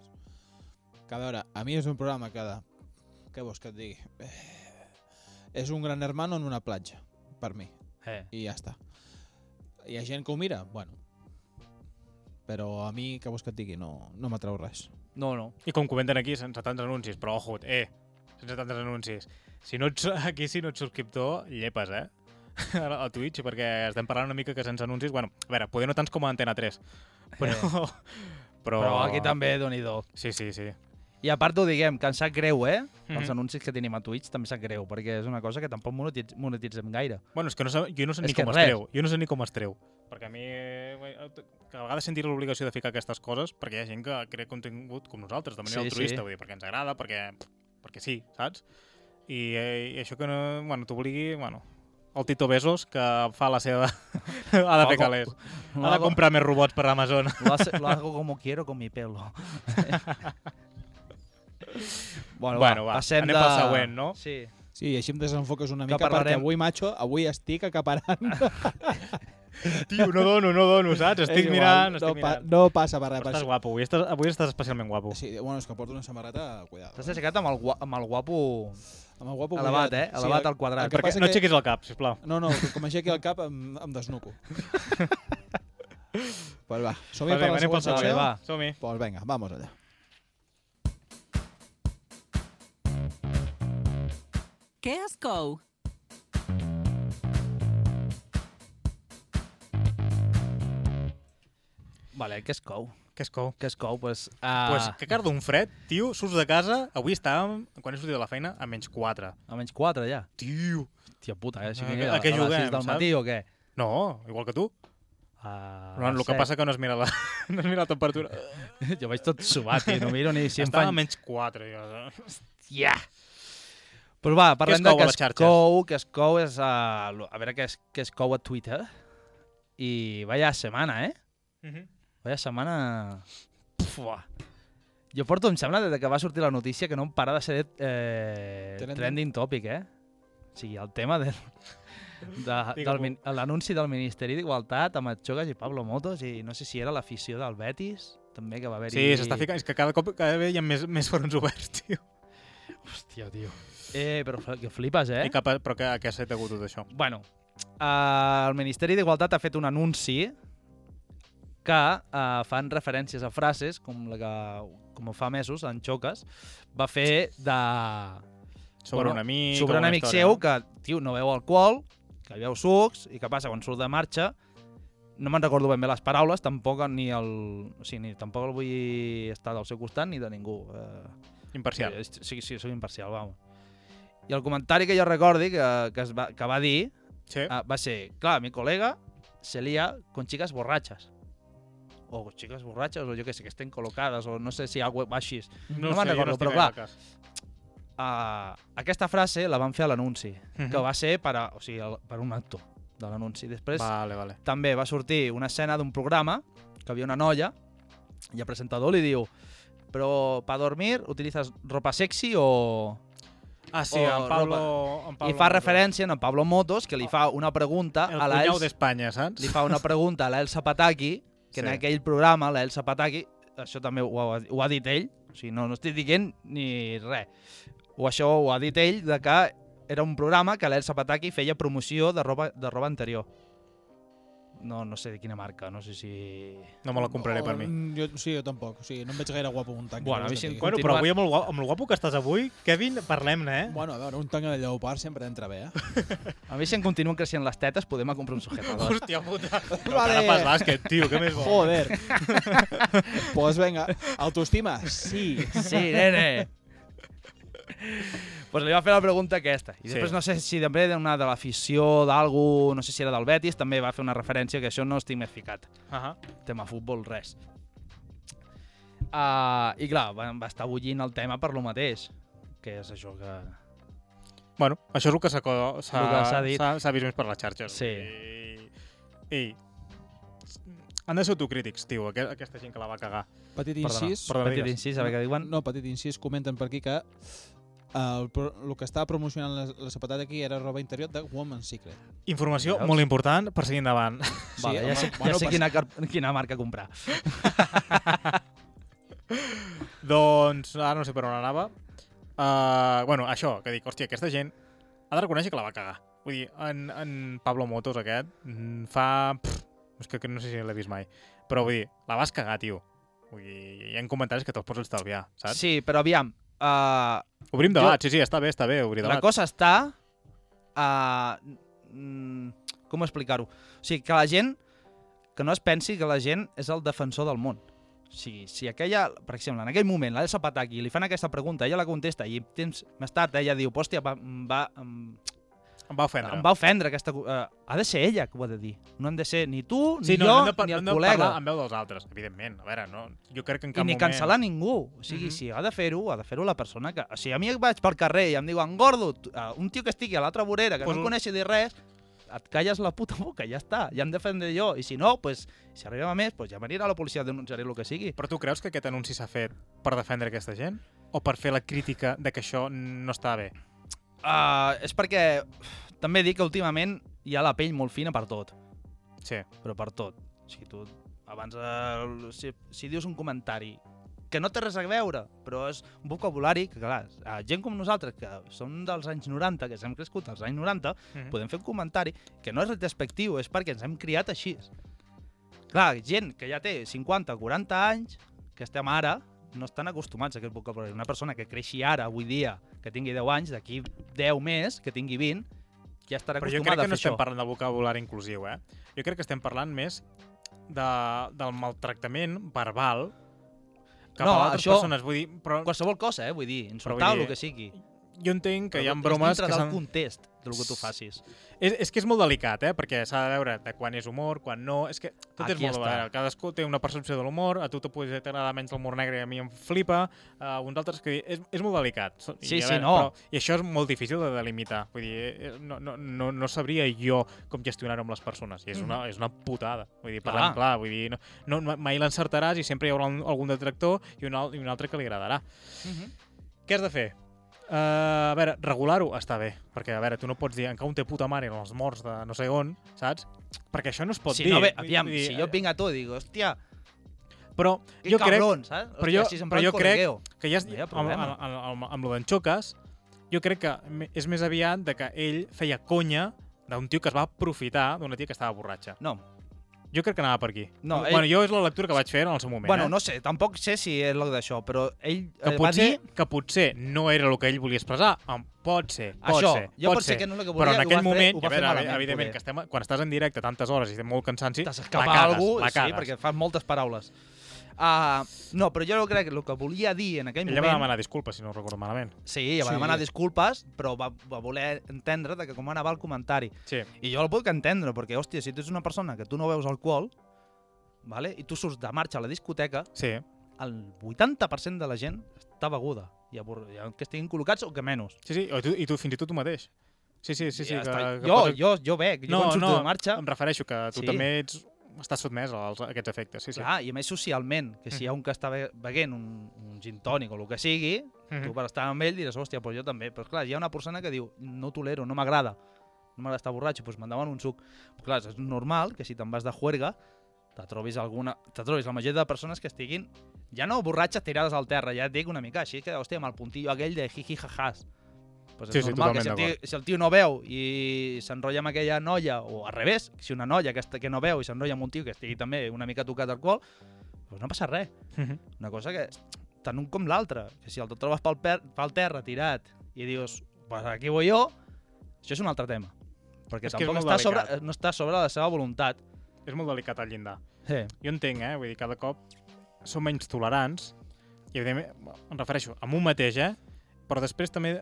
S4: que a veure, a mi és un programa que de... què vols que et digui? Eh, és un gran hermano en una platja per mi,
S3: eh.
S4: i ja està hi ha gent que ho mira? bueno però a mi, què vols que et digui? no, no m'atrau res
S3: No, no.
S2: I com comenten aquí, sense tants anuncis, però ojo, eh, sense tants anuncis. Si no ets, aquí, si no ets subscriptor, llepes, eh? Ara, a Twitch, perquè estem parlant una mica que sense anuncis... Bueno, a veure, poder no tants com a Antena 3, però... Eh. però...
S3: Però aquí també, déu nhi
S2: Sí, sí, sí.
S3: I a part ho diguem, que em sap greu, eh? Mm -hmm. Els
S2: Mhm.
S3: anuncis que tenim a Twitch també em sap greu, perquè és una cosa que tampoc monetiz- monetitzem gaire.
S2: Bueno, és que no sé, jo no sé
S3: És
S2: ni
S3: que
S2: com
S3: res.
S2: es treu. Jo no sé ni com es treu. Perquè a mi... eh, Que a vegades sentir l'obligació de ficar aquestes coses perquè hi ha gent que crea contingut com nosaltres, de manera
S3: Sí,
S2: sí, altruista,
S3: sí.
S2: sí. vull dir, perquè ens agrada, perquè, perquè sí, saps? I, eh, i això que no, bueno, t'obligui... Bueno, el Tito Besos, que fa la seva... ha de
S3: Loco.
S2: fer calés. Ha de comprar més robots per Amazon.
S3: Lo, hace- lo hago como quiero con mi pelo. bueno,
S2: Bueno, va, anem pel següent, no?
S3: Sí.
S4: Sí, així em desenfoques una mica
S3: parlarem.
S4: perquè avui, macho, avui estic acaparant.
S2: Tio, no dono, no dono, saps?
S4: És
S2: Estic
S4: igual,
S2: mirant,
S4: no,
S2: estic
S4: pa,
S2: mirant.
S4: no passa per res. Per
S2: Estàs
S4: això.
S2: guapo, avui estàs, avui estàs especialment guapo.
S4: Sí, bueno, és que porto una samarreta, cuidado.
S3: T'has aixecat amb el, gua- amb el guapo...
S4: Amb el guapo
S3: Elevat,
S4: mullat.
S3: eh? Elevat al quadrat.
S4: el que
S2: Perquè
S4: passa
S2: no
S4: que-
S2: aixequis el cap, sisplau.
S4: No, no, com aixequi el cap em, em desnuco. pues va, som-hi
S2: Va bé,
S4: per la
S2: anem pel
S4: següent
S2: següent,
S4: secció?
S2: va, som-hi.
S4: Pues venga, vamos allá.
S1: Què es cou?
S3: Vale, que es cou.
S2: Què és cou?
S3: Que es cou, pues... Uh,
S2: pues, que car d'un fred, tio, surts de casa, avui estàvem, quan he sortit de la feina, a menys 4.
S3: A menys 4, ja.
S2: Tio!
S3: Hòstia puta, eh? Així
S2: A
S3: que,
S2: què-
S3: a,
S2: Ah, a què
S3: a
S2: juguem,
S3: les 6 del
S2: saps?
S3: matí o què?
S2: No, igual que tu.
S3: Ah, A
S2: Però el
S3: les
S2: que
S3: set.
S2: passa que no es mira la, no es mira la temperatura.
S3: jo vaig tot subat, tio. No miro ni si em
S2: Estava
S3: fan...
S2: a menys 4. Jo.
S3: Yeah. Però va, parlem
S2: cou
S3: de
S2: a
S3: que
S2: les
S3: es
S2: xarxes?
S3: cou, que es cou és... A, a veure, que es, que es cou a Twitter. I vaya setmana, eh?
S2: Uh -huh.
S3: Vaya setmana... Fua. Jo porto, em sembla, des que va sortir la notícia que no em para de ser eh,
S4: Trending.
S3: trending. topic, eh? O sigui, el tema del, de, del,
S2: Digue-m'ho.
S3: min- l'anunci del Ministeri d'Igualtat amb Atxogas i Pablo Motos i no sé si era l'afició del Betis, també que va haver-hi...
S2: Sí, s'està ficant, és que cada cop cada vegada hi ha més, més fronts oberts, tio.
S3: Hòstia, tio. Eh, però fl- que flipes, eh?
S2: Eh? I cap a, però que, a què s'ha degut tot això?
S3: Bueno, eh, el Ministeri d'Igualtat ha fet un anunci que eh, fan referències a frases com la que com fa mesos, en Xoques, va fer de...
S2: Sobre
S3: Bueno,
S2: un amic...
S3: sobre un
S2: alguna
S3: amic
S2: història,
S3: seu
S2: no?
S3: que, tio, no veu alcohol, que beu sucs, i què passa quan surt de marxa? No me'n recordo ben bé les paraules, tampoc ni el... O sigui, ni, tampoc el vull estar del seu costat ni de ningú. Eh,
S2: Imparcial.
S3: Sí, és- sí, sí, soc imparcial, vamos. I el comentari que jo recordi que, que, es va, que va dir
S2: Sí.
S3: Ah, va ser, claro, mi colega se lía con chicas borrachas. O chicas borrachas, o yo que sé, que estén colocadas, o no sé si algo baixis. no me'n
S2: sé, jo
S3: recordo,
S2: estic gaire
S3: però clar.
S2: al cas.
S3: Uh, aquesta frase la van fer a l'anunci,
S2: Mhm.
S3: que va ser per, a, o sigui, el- per un actor de l'anunci. Després va.
S2: Vale, vale.
S3: també va sortir una escena d'un programa que havia una noia i el presentador li diu però per dormir utilitzes ropa sexy o...
S2: Ah, sí,
S3: O
S2: en Pablo... En
S3: Pablo
S2: Pablo Oh.
S3: I fa referència a en Pablo Motos, que li fa una pregunta
S2: El
S3: a la
S2: cunyau
S3: Els-
S2: d'Espanya, saps?
S3: li fa una pregunta a l'Elsa Pataki, que sí. en
S2: Sí.
S3: aquell programa l'Elsa Pataki, això també ho ha, ho ha dit ell, o sigui, no, no estic dient ni res, o això ho ha dit ell, de que era un programa que l'Elsa Pataki feia promoció de roba, de roba anterior. No, no sé de quina marca, no sé si...
S2: No me la compraré per mi.
S4: Mm, Jo, sí, jo tampoc. Sí, no em veig gaire guapo amb un tanc.
S3: Bueno, a mi
S4: què vols que
S3: si-
S4: et digui?
S2: Bueno, però avui amb el, guapo, amb el guapo que estàs avui, Kevin, parlem-ne, eh?
S4: Bueno, a veure, un tanc de lleopard sempre entra bé, eh?
S3: A mi si em continuen creixent les tetes podem a comprar un sujetador.
S2: Hòstia puta. Però
S4: Vale.
S2: vale. ara fas bàsquet, tio, què més vols?
S4: Joder. pues venga, autoestima, sí.
S3: sí, nene! pues li va fer la pregunta aquesta. I
S2: Sí.
S3: després no sé si també d'una de l'afició d'algú, no sé si era del Betis, també va fer una referència que això no estic més ficat.
S2: Uh -huh.
S3: tema futbol, res. Uh, I clar, va, va estar bullint el tema per lo mateix, que és això que...
S2: Bueno, això és el que s'ha co-
S3: El que s'ha
S2: s'ha-
S3: dit.
S2: s'ha- s'ha vist més per les xarxes.
S3: Sí.
S2: I, i han de ser autocrítics, tio, aqu- aquesta gent que la va cagar.
S4: Petit
S3: Perdona,
S4: incís.
S2: perdona,
S3: Petit
S2: digues.
S3: incís, a veure què diuen.
S4: No, petit incís, comenten per aquí que eh, el, pro- el que estava promocionant la, la sapatata aquí era roba interior de Woman's Secret.
S2: Informació
S3: Veus?
S2: molt important per seguir endavant.
S3: vale, ja
S4: home,
S3: sé, ja
S4: bueno,
S3: sé
S4: pas-
S3: quina, car- quina marca comprar.
S2: doncs, ara no sé per on anava. Uh, bueno, això, que dic, hòstia, aquesta gent ha de reconèixer que la va cagar. Vull dir, en, en Pablo Motos aquest mm, fa... Pff, és que no sé si l'he vist mai. Però vull dir, la vas cagar, tio. Vull dir, hi ha comentaris que te'ls pots estalviar, saps?
S3: Sí, però aviam, uh,
S2: Obrim
S3: Jo-
S2: debat, sí, sí, està bé, està bé, obrir
S3: la
S2: debat.
S3: cosa està... Uh, mm, com explicar-ho? O sigui, que la gent... Que no es pensi que la gent és el defensor del món. sigui, si aquella, per exemple, en aquell moment, la Elsa Pataki li fan aquesta pregunta, ella la contesta i temps més tard ella diu, hòstia, va, em va, em,
S2: Em va ofendre.
S3: em va ofendre aquesta... co- Eh, ha de ser ella que ho ha de dir. No han de ser ni tu,
S2: Sí,
S3: ni
S2: no,
S3: jo,
S2: no, hem de, par-
S3: ni el
S2: no hem de
S3: col·lega.
S2: parlar en veu dels altres, evidentment. A veure, no, jo crec que en
S3: I
S2: cap
S3: ni
S2: moment...
S3: cancel·lar ningú. O sigui,
S2: Mhm.
S3: si ha de fer-ho, ha de fer-ho la persona que... O sigui, a mi vaig pel carrer i em diuen gordo, tu- eh, un tio que estigui a l'altra vorera, que
S2: Pues
S3: no
S2: un-
S3: em coneixi de res, et calles la puta boca, ja està. Ja em defendré jo. I si no, pues, si arribem a més, pues ja m'anirà la policia a denunciar el que sigui.
S2: Però tu creus que aquest anunci s'ha fet per defendre aquesta gent? O per fer la crítica de que això no està bé?
S3: Uh, és perquè uf, també dic que últimament hi ha la pell molt fina per tot.
S2: Sí.
S3: però per tot. O sigui, tu abans, eh, si, si dius un comentari que no té res a veure, però és un vocabulari que, clar, a gent com nosaltres, que som dels anys 90, que ens hem crescut als anys 90,
S2: Mhm.
S3: podem fer un comentari que no és despectiu, és perquè ens hem criat així. Clar, gent que ja té 50 o 40 anys, que estem ara, no estan acostumats a aquest vocabulari. Una persona que creixi ara, avui dia, que tingui 10 anys, d'aquí 10 més, que tingui 20, ja estarà
S2: Però jo crec que
S3: acostumada a fer
S2: no estem
S3: això.
S2: parlant de vocabulari inclusiu, eh? Jo crec que estem parlant més de, del maltractament verbal cap
S3: No,
S2: a altres
S3: això-
S2: persones. Vull dir, però
S3: Qualsevol cosa, eh? Vull dir, insultar
S2: dir-
S3: o el que sigui.
S2: jo entenc que hi ha
S3: Però
S2: bromes
S3: és
S2: que
S3: dintre del
S2: s'han...
S3: context del que tu facis.
S2: És, és que és molt delicat, eh? Perquè s'ha de veure de quan és humor, quan no... És que tot és
S3: Aquí
S2: molt...
S3: està.
S2: Veure, cadascú té una percepció de l'humor, a tu te pot agradar menys l'humor negre i a mi em flipa, a uns altres que... És, és molt delicat. So-
S3: Sí,
S2: a
S3: sí, no.
S2: Però, I això és molt difícil de delimitar. Vull dir, eh, eh, no, no, no, no sabria jo com gestionar-ho amb les persones. I és una,
S3: Mm-hmm.
S2: és una putada. Vull dir, parlant clar, vull dir, no, no, ma- mai l'encertaràs i sempre hi haurà un, algun detractor i un, al- i un altre que li agradarà.
S3: Mhm.
S2: Què has de fer? Uh, a veure, regular-ho està bé, perquè a veure, tu no pots dir encara un té puta mare en els morts de no sé on, saps? Perquè això no es pot
S3: Si
S2: dir.
S3: no, bé,
S2: Vull-
S3: aviam,
S2: vull dir,
S3: si jo vinc a tu i dic, hòstia,
S2: Però
S3: que
S2: jo crec
S3: cabrón, saps?
S2: però
S3: Hòstia,
S2: jo-
S3: si se'n
S2: però
S3: va el
S2: jo crec-
S3: corregueo.
S2: que ja es,
S3: No hi ha
S2: amb, amb,
S3: problema.
S2: amb, amb, amb lo d'en Xoques, jo crec que me- és més aviat de que ell feia conya d'un tio que es va aprofitar d'una tia que estava borratxa.
S3: No,
S2: Jo crec que anava per aquí.
S3: No,
S2: bueno,
S3: ell-
S2: jo és la lectura que vaig fer en el seu moment.
S3: bueno,
S2: eh?
S3: no sé, tampoc sé si és el d'això, però ell
S2: que
S3: eh, va
S2: potser,
S3: dir
S2: que potser no era el que ell volia expressar. Em- Pot ser, pot
S3: això.
S2: ser.
S3: Jo
S2: pot
S3: pot ser que no és el que volia,
S2: Però en
S3: i ho
S2: aquell
S3: va fer-
S2: moment,
S3: ho va
S2: a
S3: fer
S2: veure,
S3: malament,
S2: evidentment,
S3: poder.
S2: que estem, quan estàs en directe tantes hores i té molt cansanci,
S3: t'has
S2: la
S3: escapat
S2: cagues,
S3: algú,
S2: la
S3: sí,
S2: cagues.
S3: perquè fas moltes paraules. Uh, no, però jo crec que el que volia dir en aquell
S2: Ella va
S3: moment...
S2: demanar disculpes, si no ho recordo malament.
S3: Sí, va
S4: Sí.
S3: demanar disculpes, però va, va voler entendre de que com anava el comentari.
S2: Sí.
S3: I jo el puc entendre, perquè, hòstia, si tu ets una persona que tu no veus alcohol, vale? i tu surts de marxa a la discoteca,
S2: Sí.
S3: el 80% de la gent està beguda, i abor- i que estiguin col·locats o que menys.
S2: Sí, sí, i tu, i tu fins i tot tu mateix. Sí, sí, sí, sí.
S3: Ja
S2: que,
S3: està.
S2: que
S3: jo,
S2: posa-
S3: jo, jo bec, jo no, quan surto
S2: no,
S3: de marxa,
S2: em refereixo que tu
S3: Sí.
S2: també ets, estàs sotmès als, a aquests efectes. Sí, sí.
S3: clar, i a més socialment, que si hi ha un que està be- beguent un, un gin tònic o el que sigui,
S2: Mhm.
S3: tu per estar amb ell diràs, hòstia, doncs jo també. Però clar, hi ha una persona que diu, no tolero, no m'agrada, no m'agrada estar borratxo, doncs m'endaven un suc. Però clar, és normal que si te'n vas de juerga, te trobis, alguna, te trobis la majoria de persones que estiguin ja no borratxes tirades al terra, ja et dic una mica així, que hòstia, amb el puntillo aquell de jiji jajàs. Pues és
S2: Sí, sí,
S3: normal
S2: totalment
S3: que si el, tio, si el tio no veu i s'enrotlla amb aquella noia, o al revés, si una noia que, està, que no veu i s'enrotlla amb un tio que estigui també una mica tocat alcohol, doncs no passa res.
S2: Mhm.
S3: Una cosa que, tant un com l'altre, que si el trobes pel, per, pel terra tirat i dius, pues aquí vull jo, això és un altre tema. Perquè
S2: És que és
S3: tampoc
S2: molt
S3: està sobre,
S2: delicat.
S3: no està sobre la seva voluntat.
S2: És molt delicat al llindar.
S3: Sí.
S2: Jo entenc, eh? Vull dir, cada cop som menys tolerants i, evidentment, em refereixo a un mateix, eh? Però després també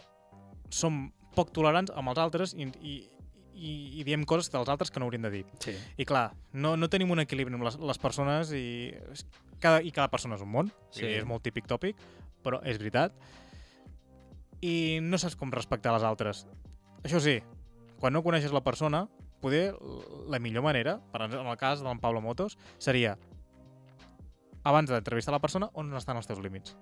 S2: som poc tolerants amb els altres i, i, i, i diem coses dels altres que no hauríem de dir.
S3: sí.
S2: I clar, no, no tenim un equilibri amb les, les persones i és- cada, i cada persona és un món,
S3: Sí.
S2: sí. és molt típic tòpic, però és veritat. I no saps com respectar les altres. Això sí, quan no coneixes la persona, poder l- la millor manera, per exemple, en el cas d'en Pablo Motos, seria abans d'entrevistar la persona, on estan els teus límits.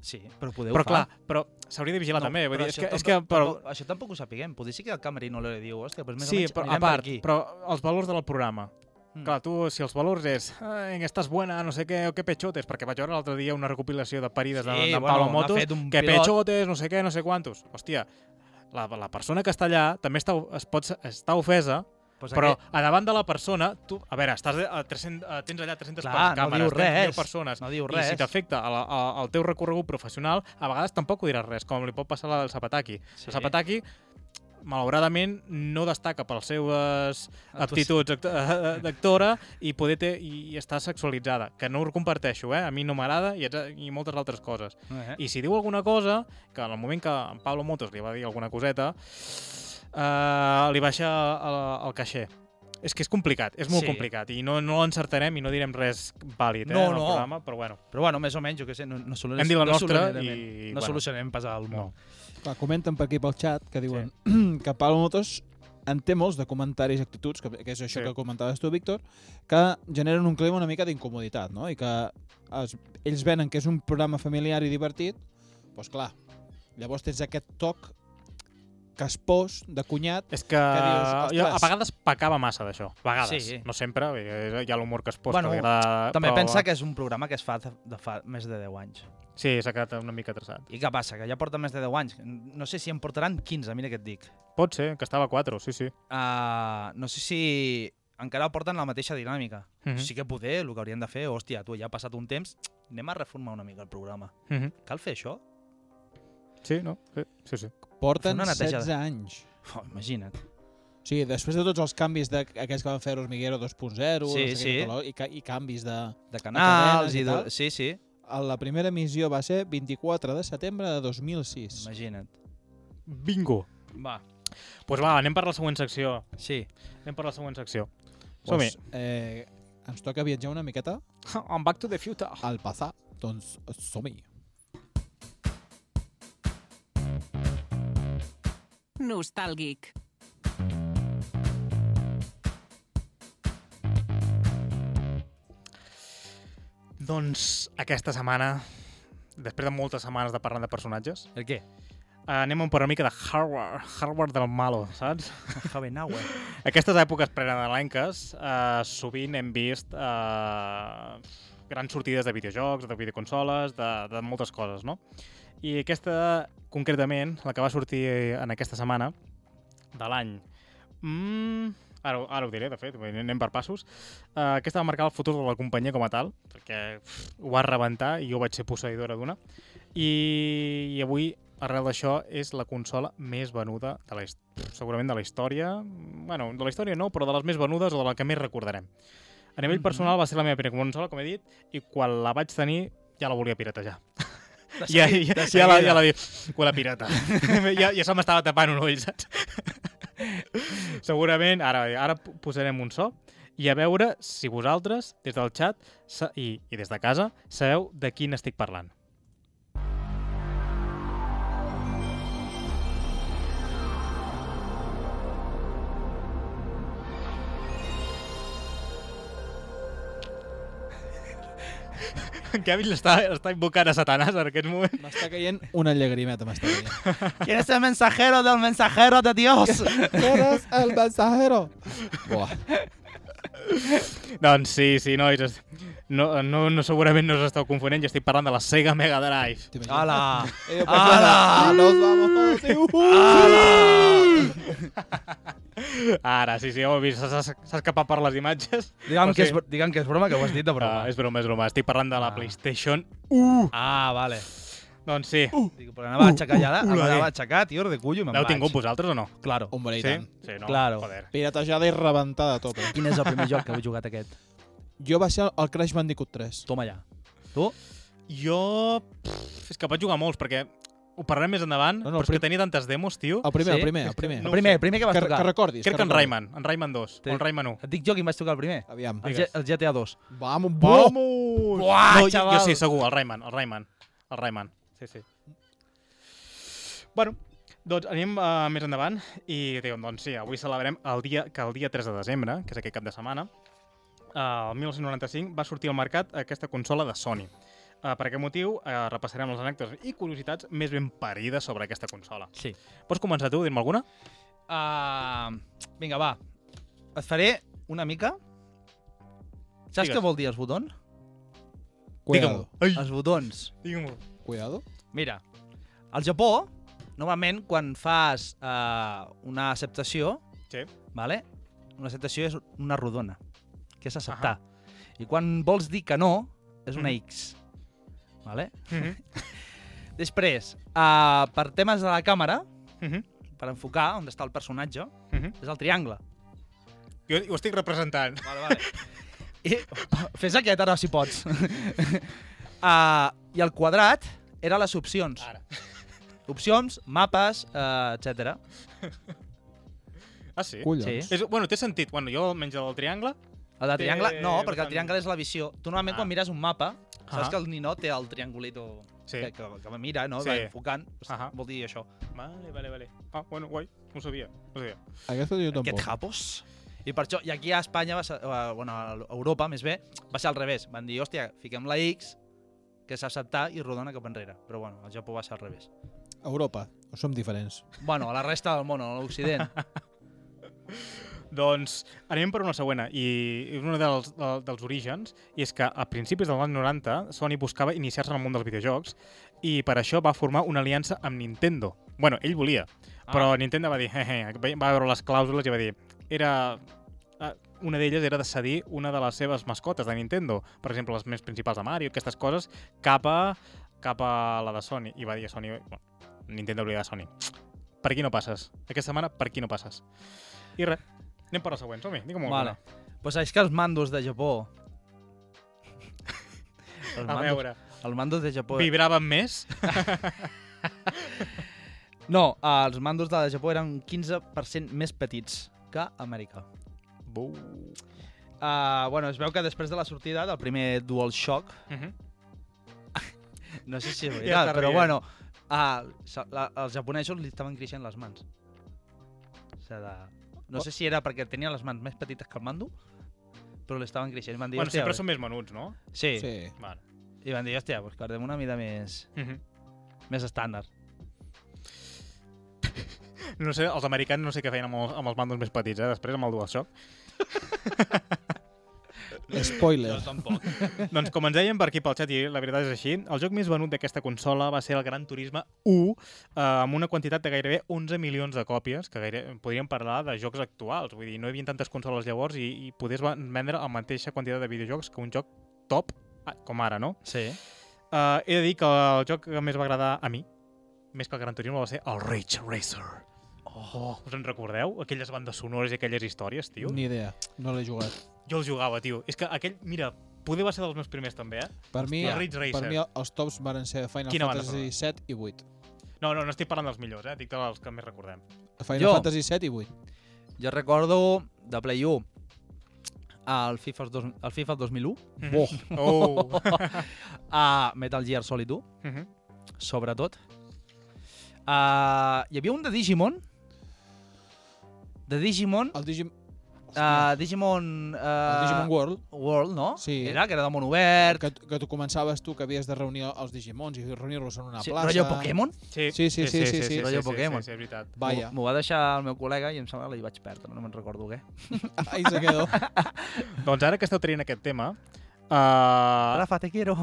S3: Sí, però podeu
S2: Però clar, però s'hauria de vigilar també. Vull dir, és que, és que, però,
S3: tampoc, això tampoc ho sapiguem. Potser sí que el camerino li diu, hòstia, doncs més
S2: sí,
S3: o menys
S2: però, a
S3: anirem per
S2: part,
S3: aquí.
S2: però els valors del programa.
S3: Mm.
S2: Mm. Clar, tu, si els valors és "Ai, estàs buena, no sé què, o que pechotes, perquè vaig veure l'altre dia una recopilació de parides sí, de,
S3: Sí,
S2: de
S3: bueno,
S2: Pablo
S3: n'ha
S2: Motos,
S3: fet un
S2: que
S3: pilot.
S2: pechotes, no sé què, no sé quantos. Hòstia, la, la persona que està allà també està, es pot estar ofesa,
S3: Pues
S2: però
S3: aquest-
S2: a davant de la persona, tu, a veure, estàs a 300, a, tens allà 300
S3: Clar,
S2: per-
S3: no
S2: càmeres,
S3: diu
S2: tens mil
S3: res,
S2: persones,
S3: no diu
S2: i
S3: res.
S2: si t'afecta a la- a- al teu recorregut professional, a vegades tampoc ho diràs res, com li pot passar a la del Zapataki.
S3: Sí.
S2: Sí. El Zapataki malauradament, no destaca pels seves aptituds act- eh, d'actora i poder té, i i està sexualitzada, que no ho comparteixo, eh? a mi no m'agrada i, etcè- i moltes altres coses.
S3: Eh?
S2: I si diu alguna cosa, que en el moment que en Pablo Motos li va dir alguna coseta, eh, li baixa el, el caixer. És que és complicat, és molt
S3: Sí.
S2: sí. complicat i no, no l'encertarem i no direm res vàlid eh,
S3: No,
S2: en el
S3: no.
S2: programa, però bueno.
S3: Però bueno, més o menys, jo què sé, no, no, solu-
S2: Hem dit la
S3: no
S2: nostra
S3: solucionarem-
S2: i,
S3: No
S2: bueno.
S3: solucionarem pas al món.
S2: No.
S4: Clar, comenten per aquí pel xat que diuen sí. que Pablo Motos en té molts de comentaris i actituds, que, que és això
S2: Sí.
S4: sí. que comentaves tu, Víctor, que generen un clima una mica d'incomoditat, no? I que es, ells venen que és un programa familiar i divertit, doncs clar, llavors tens aquest toc caspós de cunyat
S2: És que,
S4: dius,
S2: jo, a
S4: "Ostres".
S2: vegades pecava massa d'això, a vegades,
S3: Sí.
S2: sí. no sempre, vull dir, hi ha l'humor que es posa.
S3: Bueno,
S2: que li agrada,
S3: També
S2: però-
S3: pensa que és un programa que es fa de, de fa més de 10 anys.
S2: Sí, s'ha quedat una mica traçat.
S3: I què passa? Que ja porta més de 10 anys. No sé si en portaran 15, mira què et dic.
S2: Pot ser, que estava a 4, sí, sí.
S3: Uh, no sé si encara porten la mateixa dinàmica. Mm
S2: Mhm.
S3: -hmm. Sí que poder, el que haurien de fer, hòstia, tu, ja ha passat un temps, anem a reformar una mica el programa.
S2: Mm -hmm.
S3: Cal fer això?
S2: Sí, no? Sí, sí. sí.
S4: porten
S3: Fer una neteja.
S4: 16 anys.
S3: Oh, imagina't.
S4: O sigui, després de tots els canvis de, aquells que van fer Hormiguero 2.0
S3: Sí,
S4: no sé què,
S3: sí.
S4: i, ca- i canvis de...
S3: De canals
S4: cadenes
S3: i,
S4: i
S3: i de...
S4: tal.
S3: Sí, sí,
S4: La primera emissió va ser 24 de setembre de 2006.
S3: imagina't.
S2: Bingo.
S3: Va,
S2: Doncs pues va, anem per la següent secció.
S3: sí.
S2: Anem per la següent secció. Som-hi.
S4: Doncs, eh, ens toca viatjar una miqueta
S2: On Back to the Future.
S4: al passat. Doncs som-hi.
S1: Nostàlgic.
S2: Doncs aquesta setmana, després de moltes setmanes de parlar de personatges,
S3: El què?
S2: eh, anem un per una mica de hardware, hardware del malo, saps?
S3: Havenauer.
S2: Aquestes èpoques preadalenques eh, sovint hem vist eh, grans sortides de videojocs, de videoconsoles, de, de moltes coses, no? I aquesta, concretament, la que va sortir en aquesta setmana de l'any... Mm, ara, ho- ara ho diré, de fet, vull dir, anem per passos. Uh, aquesta va marcar el futur de la companyia com a tal, perquè pff, ho va rebentar i jo vaig ser posseïdora d'una. I, I avui, arrel d'això, és la consola més venuda de la història segurament de la història, bueno, de la història no, però de les més venudes o de la que més recordarem. A nivell
S3: Mhm.
S2: personal va ser la meva primera consola, com he dit, i quan la vaig tenir ja la volia piratejar. Ja, ja, ja, ja, la, ja la dic, quan la pirata. ja, ja se m'estava tapant un ull, saps? Segurament, ara, ara po- posarem un so i a veure si vosaltres, des del xat sa- i, i des de casa, sabeu de quin estic parlant. En Kevin l'està està invocant a Satanàs en aquests moments.
S4: M'està caient una llagrimeta, m'està caient.
S3: ¿Quién es el mensajero del mensajero de Dios?
S4: Eres el mensajero. Buah,
S2: Doncs sí, sí, nois. es- No, no, no segurament no us esteu confonent, jo estic parlant de la Sega Mega Drive.
S4: t'imagines?
S3: Hola.
S4: Eh, pues
S3: Ala.
S4: nada, nos vamos. Eh, uh,
S2: Ara, sí, sí, heu vist, s'ha- s'ha s'ha escapat per les imatges. O
S3: Digue'm, que és,
S2: sigui-
S3: digue'm que és broma, que ho has dit de broma.
S2: Ah, és broma, és broma. Estic parlant de la
S3: Ah.
S2: PlayStation.
S3: Ah, vale.
S2: Doncs sí,
S3: Dic, però anava a aixecar
S2: uh,
S3: ja,
S2: la
S3: anava
S2: D.
S3: a aixecar, tio, de cullo, i me'n
S2: l'heu
S3: vaig. Oh,
S2: tingut vosaltres o no?
S3: Claro.
S4: Hombre, i
S2: sí?
S4: tant.
S2: Sí, no?
S3: Claro.
S2: Joder.
S4: Piratejada i rebentada a tope.
S3: Quin és el primer joc que heu jugat aquest?
S4: Jo va ser el Crash Bandicoot 3.
S3: Toma ja. Tu?
S2: Jo... Pff, és que vaig jugar molts, perquè ho parlarem més endavant,
S4: No,
S2: no,
S4: no,
S2: no, però és
S4: prim-
S2: que tenia tantes demos, tio.
S4: El primer,
S3: Sí?
S4: el primer, el primer.
S3: El
S2: No ho
S3: primer,
S2: sé.
S3: el primer que vas
S4: Que,
S3: tocar.
S4: que recordis.
S2: Crec que en
S4: recordis.
S2: Rayman, en Rayman 2,
S3: Sí.
S2: o en Rayman 1.
S3: Et dic jo quin vaig tocar el primer.
S4: Aviam.
S3: El, G
S2: Digues.
S3: el GTA 2.
S4: Vamos, buah.
S2: Vamos!
S3: Buah,
S2: no, jo,
S3: xaval.
S2: jo sí, segur, el Rayman, el Rayman. El Rayman, sí, sí. Bueno, doncs anem uh, més endavant i diguem, doncs sí, avui celebrem el dia que el dia 3 de desembre, que és aquest cap de setmana, eh, el 1995 va sortir al mercat aquesta consola de Sony. Uh, per aquest motiu, uh, repassarem les anècdotes i curiositats més ben parides sobre aquesta consola.
S3: Sí.
S2: Pots començar tu, dir-me alguna?
S3: Uh, vinga, va. Et faré una mica... Saps
S2: Digues.
S3: què vol dir els botons?
S4: Cuidado.
S2: Ai,
S3: Els botons.
S2: digue'm-ho.
S4: Cuidado.
S3: Mira, al Japó, normalment, quan fas uh, una acceptació,
S2: Sí.
S3: vale? una acceptació és una rodona, que és acceptar. I quan vols dir que no, és una
S2: Mhm.
S3: X. Vale?
S2: Mhm,
S3: Després, uh, per temes de la càmera,
S2: mhm.
S3: per enfocar on està el personatge,
S2: Mhm.
S3: és el triangle.
S2: Jo ho estic representant.
S3: Vale, vale. I, fes aquest ara, si pots. uh, I el quadrat era les opcions.
S2: Ara.
S3: Opcions, mapes, uh, etc.
S2: Ah, sí?
S4: Collons.
S2: És, bueno, té sentit. Bueno, jo almenys el del triangle...
S3: El de
S2: Té
S3: triangle, no,
S2: bastant-
S3: perquè el triangle és la visió. Tu normalment
S2: Ah.
S3: quan mires un mapa, saps
S2: Ah.
S3: que el ninot té el triangulito
S2: Sí.
S3: que, que, que mira, no?
S2: Sí. Ah.
S3: Sí. Va enfocant, pues,
S2: Ahà.
S3: vol dir això.
S2: Vale, vale, vale. Ah, bueno, guai. No ho sabia. No ho sabia.
S4: Aquesta jo
S3: Aquest
S4: tampoc.
S3: japos. I per això, i aquí a Espanya, va ser, eh, bueno, a Europa més bé, va ser al revés. Van dir, hòstia, fiquem la X, que s'ha acceptat i rodona cap enrere. Però bueno, al Japó va ser al revés.
S4: Europa. Som diferents.
S3: Bueno, a la resta del món, a l'Occident.
S2: Doncs anem per una següent, i és un dels, del- dels orígens, i és que a principis dels anys 90 Sony buscava iniciar-se en el món dels videojocs i per això va formar una aliança amb Nintendo. bueno, ell volia, però Nintendo va dir, eh, eh, va veure les clàusules i va dir, era... eh, Una d'elles era de cedir una de les seves mascotes de Nintendo, per exemple, les més principals de Mario, aquestes coses, cap a, cap a la de Sony. I va dir a Sony, bueno, Nintendo oblida Sony. Per aquí no passes. Aquesta setmana, per aquí no passes. I res, anem per la següent, som-hi, digue'm alguna.
S3: Vale. Pues és que els mandos de Japó... els,
S2: A
S3: mandos,
S2: veure,
S3: els mandos de Japó...
S2: vibraven més?
S3: No, eh, els mandos de Japó eren un 15% més petits que a Amèrica.
S2: Buu.
S3: Uh, bueno, es veu que després de la sortida del primer DualShock,
S2: Mhm.
S3: no sé si
S2: Ja
S3: és veritat,
S2: està
S3: però
S2: rient.
S3: bueno, uh, la, els japonesos li estaven creixent les mans. O sigui, de... no sé si era perquè tenien les mans més petites que el mando, però li estaven creixent. I van dir,
S2: Bueno,
S3: hòstia,
S2: sempre són més menuts, no?
S3: sí. sí.
S4: Sí.
S2: Vale.
S3: I van dir, hòstia, pues guardem una mida més,
S2: Mhm.
S3: més estàndard.
S2: No sé, els americans no sé què feien amb els, amb els mandos més petits, eh? Després amb el DualShock.
S4: Spoiler.
S3: tampoc.
S2: doncs com ens deien per aquí pel xat, i la veritat és així, el joc més venut d'aquesta consola va ser el Gran Turisme 1, eh, amb una quantitat de gairebé 11 milions de còpies, que gaire... podríem parlar de jocs actuals. Vull dir, no hi havia tantes consoles llavors i, i podies va- vendre la mateixa quantitat de videojocs que un joc top, ah, com ara, no?
S3: Sí.
S2: Eh, he de dir que el joc que més va agradar a mi, més que el Gran Turismo, va ser el Ridge Racer. Oh, us en recordeu? Aquelles bandes sonores i aquelles històries, tio?
S4: Ni idea. No l'he jugat.
S2: Jo el jugava, tio. És que aquell, mira, poder va ser dels meus primers també, eh?
S4: Per mi,
S2: El Ridge
S4: per
S2: Racer.
S4: mi els tops varen ser Final
S2: Quina banda
S4: Fantasy 7 i 8.
S2: No, no, no estic parlant dels millors, eh? Dic dels que més recordem.
S4: Final
S3: Jo.
S4: Fantasy 7 i 8.
S3: Jo recordo de Play 1 el FIFA, dos, el FIFA 2001,
S2: Oh! oh.
S3: a Metal Gear Solid 1,
S2: Mhm.
S3: sobretot. Uh, hi havia un de Digimon, de Digimon,
S4: El Digimon...
S3: uh, Digimon, uh,
S4: Ah, el Digimon World,
S3: World, no?
S4: Sí.
S3: Era, que era de món obert,
S4: que, que tu començaves tu que havies de reunir els Digimons i reunir-los en una
S3: sí,
S4: plaça.
S3: rotllo Pokémon.
S2: Sí,
S4: Sí, sí, sí, sí, sí,
S2: sí,
S3: rotllo Pokémon.
S2: Sí, sí, és veritat.
S4: Vaja.
S3: M'ho m'ho va deixar el meu col·lega i em sembla que l'hi vaig perdre, no me'n recordo què.
S4: Ahí se quedó.
S2: Doncs ara que esteu traient aquest tema... Uh,
S3: Rafa, te quiero.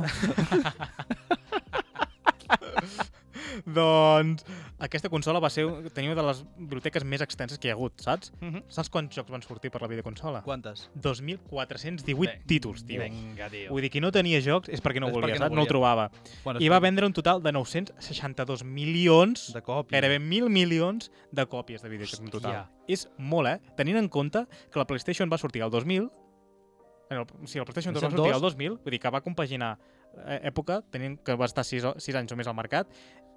S2: doncs aquesta consola va ser tenir una de les biblioteques més extenses que hi ha hagut, saps?
S4: Mhm.
S2: Saps quants jocs van sortir per la videoconsola?
S3: Quantes?
S2: 2.418 títols, tio.
S3: Vinga, tio.
S2: Vull dir, qui no tenia jocs és perquè no
S3: És
S2: ho volia,
S3: perquè no
S2: saps? No, no
S3: volia.
S2: el trobava.
S3: Bueno,
S2: I va vendre un total de 962 milions,
S3: De cop.
S2: gairebé 1.000 milions de còpies de videojocs en total.
S3: Hòstia.
S2: És molt, eh? Tenint en compte que la PlayStation va sortir el 2000, eh, no, sí, la PlayStation 2 va
S3: PlayStation
S2: sortir
S3: 2.
S2: el 2000, vull dir que va compaginar eh, època, tenint que va estar 6, 6 anys o més al mercat,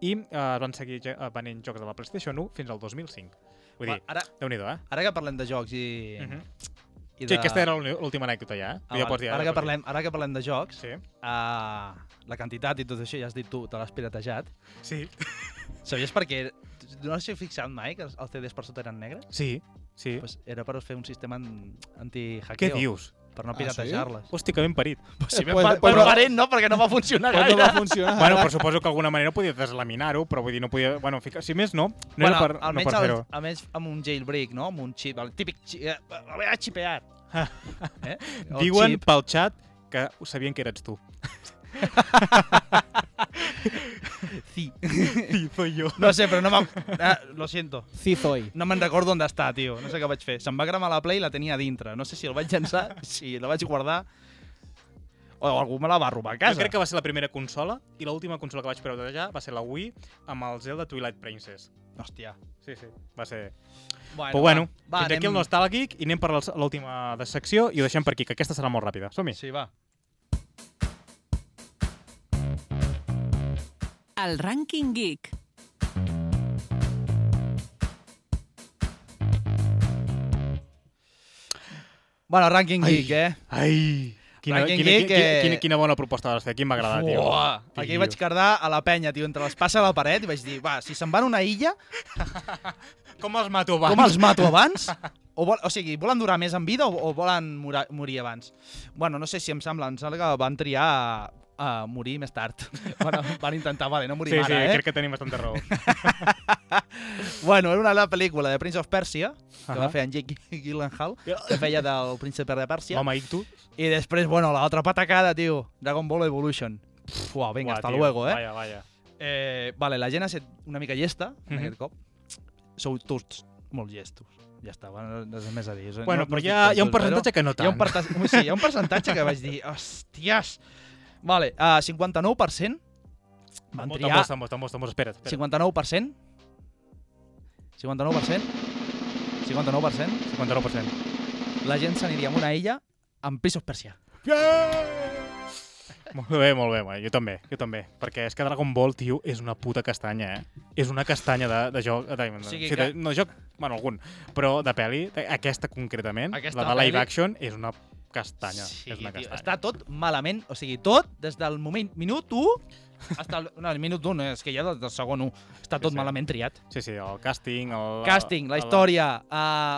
S2: i eh, van seguir ja- eh, venent jocs de la PlayStation 1 fins al 2005. Vull dir,
S3: Va, ara,
S2: Déu-n'hi-do, eh?
S3: ara que parlem de jocs i...
S2: Mhm.
S3: i de...
S2: Sí, aquesta era l'última anècdota ja, eh?
S3: Ah,
S2: ja
S3: vale.
S2: pots dir,
S3: ara, que
S2: pots dir.
S3: parlem, ara que parlem de jocs,
S2: Sí,
S3: uh, la quantitat i tot això, ja has dit tu, te l'has piratejat.
S2: sí,
S3: Sabies per què? No us heu fixat mai que els els CDs per sota eren negres?
S2: sí, sí.
S3: Pues era per fer un sistema en-
S2: Què
S3: anti-hackeo.
S2: dius?
S3: Per no
S4: Ah,
S3: piratejar-les.
S2: Hòstia, que ben parit.
S3: Pues si
S4: Pues-
S3: per,
S4: pues-
S3: parent, no, perquè no va funcionar
S4: Però no
S3: gaire.
S4: va funcionar.
S2: Bueno, però suposo que d'alguna manera podia deslaminar-ho, però vull dir, no podia... Bueno, fica... si més no, no
S3: bueno,
S2: era per, no
S3: almenys,
S2: per fer-ho.
S3: al, almenys amb un jailbreak, no? Amb un xip, el típic xip, eh, l'he xipeat. eh? El
S2: Ah. Diuen
S3: xip.
S2: pel xat que ho sabien que eres tu.
S3: Sí.
S2: Sí, soy jo.
S3: No sé, però no m'ha... Ah, lo siento.
S4: Cizoi.
S3: No me'n recordo on està, tio. No sé què vaig fer. Se'm va cremar la Play i la tenia a dintre. No sé si el vaig llançar, si la vaig guardar... O algú me la va robar a
S2: Jo
S3: casa.
S2: crec que va ser la primera consola i l'última consola que vaig preveure va ser la Wii amb el Zelda Twilight Princess.
S3: Hòstia.
S2: Sí, sí, va ser...
S3: Bueno,
S2: Però bueno,
S3: va,
S2: fins aquí el Nostalgic i anem per la- l'última de secció i ho deixem per aquí, que aquesta serà molt ràpida. Som-hi.
S3: Sí, va.
S1: El rànquing geek.
S3: Bueno, Ranking
S2: Ai.
S3: Geek, eh?
S2: Ai, quina,
S3: Ranking
S2: quina, quina,
S3: Geek,
S2: quina,
S3: eh,
S2: quina, quina bona proposta vas fer, quin m'ha agradat, tio.
S3: Uah, aquí vaig cardar a la penya, tio, entre l'espasa i la paret, i vaig dir, va, si se'n van a una illa,
S2: Com els mato abans?
S3: com els mato abans? O, vol, o sigui, volen durar més en vida o, o volen mora, morir abans? Bueno, no sé si em sembla, em sembla que van triar a, a morir més tard. Bueno, van intentar, vale, no morir
S2: Sí, sí,
S3: ara, eh?
S2: crec que tenim bastanta raó.
S3: Bueno, era una la pel·lícula de Prince of Persia, que
S2: Ahà.
S3: va fer en Jake Gyllenhaal, que feia del príncipe de Pèrsia.
S2: L'home ictu.
S3: I després, bueno, la otra patacada, tio, Dragon Ball Evolution. Pff, Uau, vinga,
S2: Uah,
S3: hasta
S2: tio,
S3: luego, eh?
S2: Vaya, vaya.
S3: eh? Vale, la gent ha set una mica llesta, mm
S2: Mhm.
S3: -hmm. aquest cop. Sou tots molt llestos. Ja està, bueno, no és més a dir.
S2: Bueno,
S3: no,
S2: però
S3: no
S2: hi ha, hi ha un percentatge que no
S3: Hi
S2: tant.
S3: ha, un percentatge, sí, hi ha un percentatge que vaig dir, hòsties... Vale, uh, 59% van
S2: Molt,
S3: triar...
S2: Tambors, tambors, tambors, tambors, espera't. espera't.
S3: 59%? 59%? 59%?
S2: 59%.
S3: La gent s'aniria amb una illa amb pisos persià.
S2: Molt bé, molt bé, molt bé, jo també, jo també. Perquè és que Dragon Ball, tio, és una puta castanya, eh? És una castanya de, de joc... De, o
S3: sigui
S2: sigui de,
S3: que-
S2: no, joc, bueno, algun. Però de pel·li, de- aquesta concretament,
S3: Aquesta
S2: la de live
S3: pel·li-
S2: action, és una castanya.
S3: Sí,
S2: és una
S3: tio,
S2: castanya.
S3: està tot malament, o sigui, tot des del moment minut 1 hasta el, no, el minut 1, és que ja des del segon 1 està tot
S2: sí.
S3: sí, malament triat.
S2: Sí, sí, el càsting... El,
S3: Càsting, la
S2: el-
S3: història,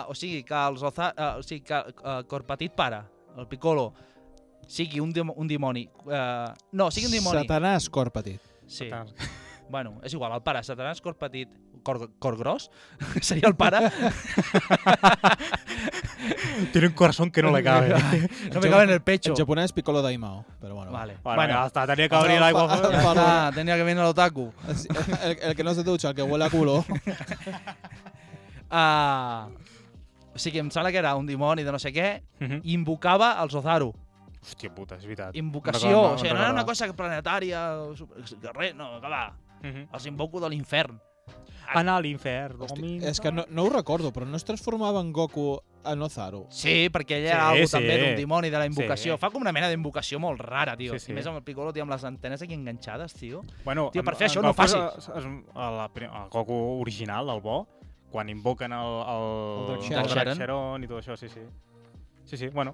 S3: uh, o sigui, que els Oza, uh, o sigui, que uh, Corpatit pare, el Piccolo, sigui un, dem un dimoni. Uh, no, sigui un dimoni.
S4: Satanàs, cor petit.
S3: Sí.
S2: Satanàs.
S3: Bueno, és igual, el pare, Satanàs, cor petit, cor, cor gros, seria el pare.
S2: Tiene un corazón que no le cabe.
S3: no me cabe en el pecho.
S4: En japonès, Piccolo Daimao. Però bueno. va.
S3: Vale.
S2: Bueno, bueno, hasta tenía que
S4: Hasta
S2: abrir
S4: el
S2: algo.
S4: fa-
S2: joder.
S4: fa-
S3: Ah, tenia que venir l'otaku.
S4: El, el que no se dutxa, el que huele a culo.
S3: Ah, o sigui, em sembla que era un dimoni de no sé què,
S2: Mhm.
S3: i invocava el Zozaru.
S2: Hòstia puta, és veritat.
S3: Invocació,
S2: Me'n recordo,
S3: o sigui, no
S2: me'n
S3: era una
S2: recordo.
S3: cosa planetària, super- que res, no, que va,
S2: Mhm.
S3: els invoco de l'infern. Ah.
S2: Anar a l'infern.
S4: Hosti, és que no, no ho recordo, però no es transformava en Goku en Ozaru.
S3: Sí, perquè ell
S2: Sí,
S3: era algo
S2: sí.
S3: també d'un dimoni de la invocació.
S2: Sí.
S3: Fa com una mena d'invocació molt rara, tio.
S2: Sí, sí.
S3: I més amb el Piccolo, tio, amb les antenes aquí enganxades, tio.
S2: Bueno,
S3: Tio, per
S2: en-
S3: fer
S2: en
S3: això no ho
S2: Goku és-
S3: facis.
S2: és- A la, pri- al Goku original, el bo, quan invoquen el... El,
S4: El Drake
S2: el
S4: Sharon.
S2: Drake Sharon i tot això, sí, sí. Sí, sí, bueno.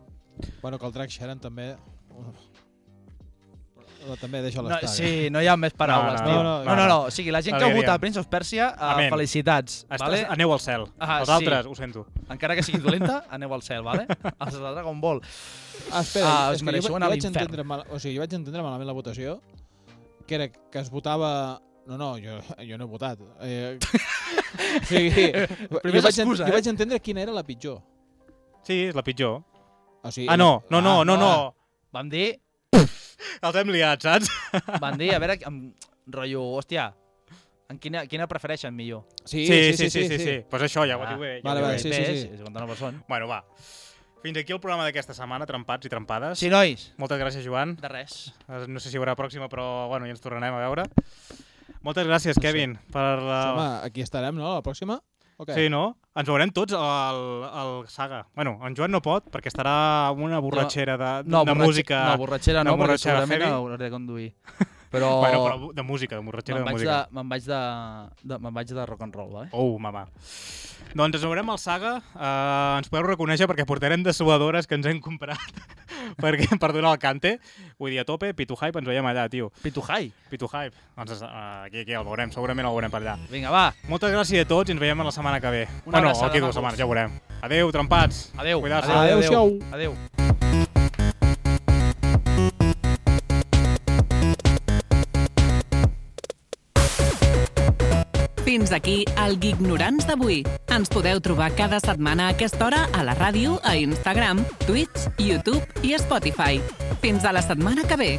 S4: Bueno, que el Drake Sharon també... Però també deixa
S3: No,
S4: l'estar. eh?
S3: sí, no hi ha més paraules,
S2: No,
S3: tio.
S4: no, no,
S3: no,
S4: no,
S3: no,
S2: no.
S3: o sigui, la gent
S2: El
S3: que ha
S2: que
S3: votat
S2: diem.
S3: Prince of Persia, eh,
S2: Amén.
S3: felicitats,
S2: Estàs,
S3: vale?
S2: Aneu al cel.
S3: Ah,
S2: Els
S3: sí.
S2: altres, ho sento.
S3: Encara que sigui dolenta, aneu al cel, vale? Els de Dragon Ball.
S4: Ah, espera,
S3: Ah, us
S4: és que
S3: mereixeu
S4: jo, va-
S3: anar a
S4: jo vaig
S3: l'infern.
S4: entendre mal, o sigui, jo vaig entendre malament la votació, que era que es votava... No, no, jo, jo no he votat. Eh, o sigui,
S3: Primer
S4: jo, vaig, en-
S3: excusa, eh?
S4: jo vaig entendre quina era la pitjor.
S2: Sí, és la pitjor.
S4: O sigui,
S2: Ah, no, no, no,
S3: ah,
S2: no,
S3: no,
S2: no.
S3: Vam dir,
S2: Els hem liat, saps?
S3: van dir, a veure, amb, rotllo, hòstia, en quina, quina prefereixen millor?
S4: Sí, sí, sí, sí. sí, sí,
S2: sí. Pues això, ja ho
S3: Ah,
S2: diu bé. ja ho
S4: vale,
S2: diu
S4: vale,
S2: bé.
S4: sí,
S3: Bé,
S4: sí, sí.
S3: És, és una persona.
S2: Bueno, va. Fins aquí el programa d'aquesta setmana, trempats i trempades.
S3: Sí, nois,
S2: Moltes gràcies, Joan.
S3: de res.
S2: Eh, No sé si hi haurà pròxima, però bueno, ja ens tornarem a veure. Moltes gràcies, Kevin, per la...
S4: Home, aquí estarem, no? La pròxima? Okay.
S2: Ah, Sí, no? Ens veurem tots al, al Saga. Bueno, en Joan no pot, perquè estarà amb una borratxera de, de
S3: borratxe-
S2: música...
S3: No, borratxera no,
S2: de
S3: perquè
S2: borratxera
S3: segurament
S2: heavy.
S3: hauré de conduir. Però,
S2: Bueno, però de música, de borratxera
S3: me'n
S2: de
S3: vaig
S2: música.
S3: de, me'n vaig de, de, me'n vaig de rock and roll, vale?
S2: Oh, mama. Doncs ens veurem al Saga. Uh, ens podeu reconèixer perquè portarem dessuadores que ens hem comprat perquè, per donar el cante. Vull dir, a tope, Pitu Hype, ens veiem allà, tio.
S3: Pitujai.
S2: Pitu Hype. Doncs uh, aquí, aquí el veurem, segurament el veurem per allà.
S3: Vinga, va.
S2: Moltes gràcies a tots i ens veiem la setmana que ve.
S3: Una
S2: bueno,
S3: abraçada,
S2: aquí dues
S3: maco.
S2: setmanes, ja ho veurem. Adeu, trempats.
S3: Adeu.
S2: Cuidar-se.
S3: adeu, adeu.
S4: Adeu-siau.
S3: adeu.
S1: Fins aquí el Gignorants d'avui. Ens podeu trobar cada setmana a aquesta hora a la ràdio, a Instagram, Twitch, YouTube i Spotify. Fins a la setmana que ve.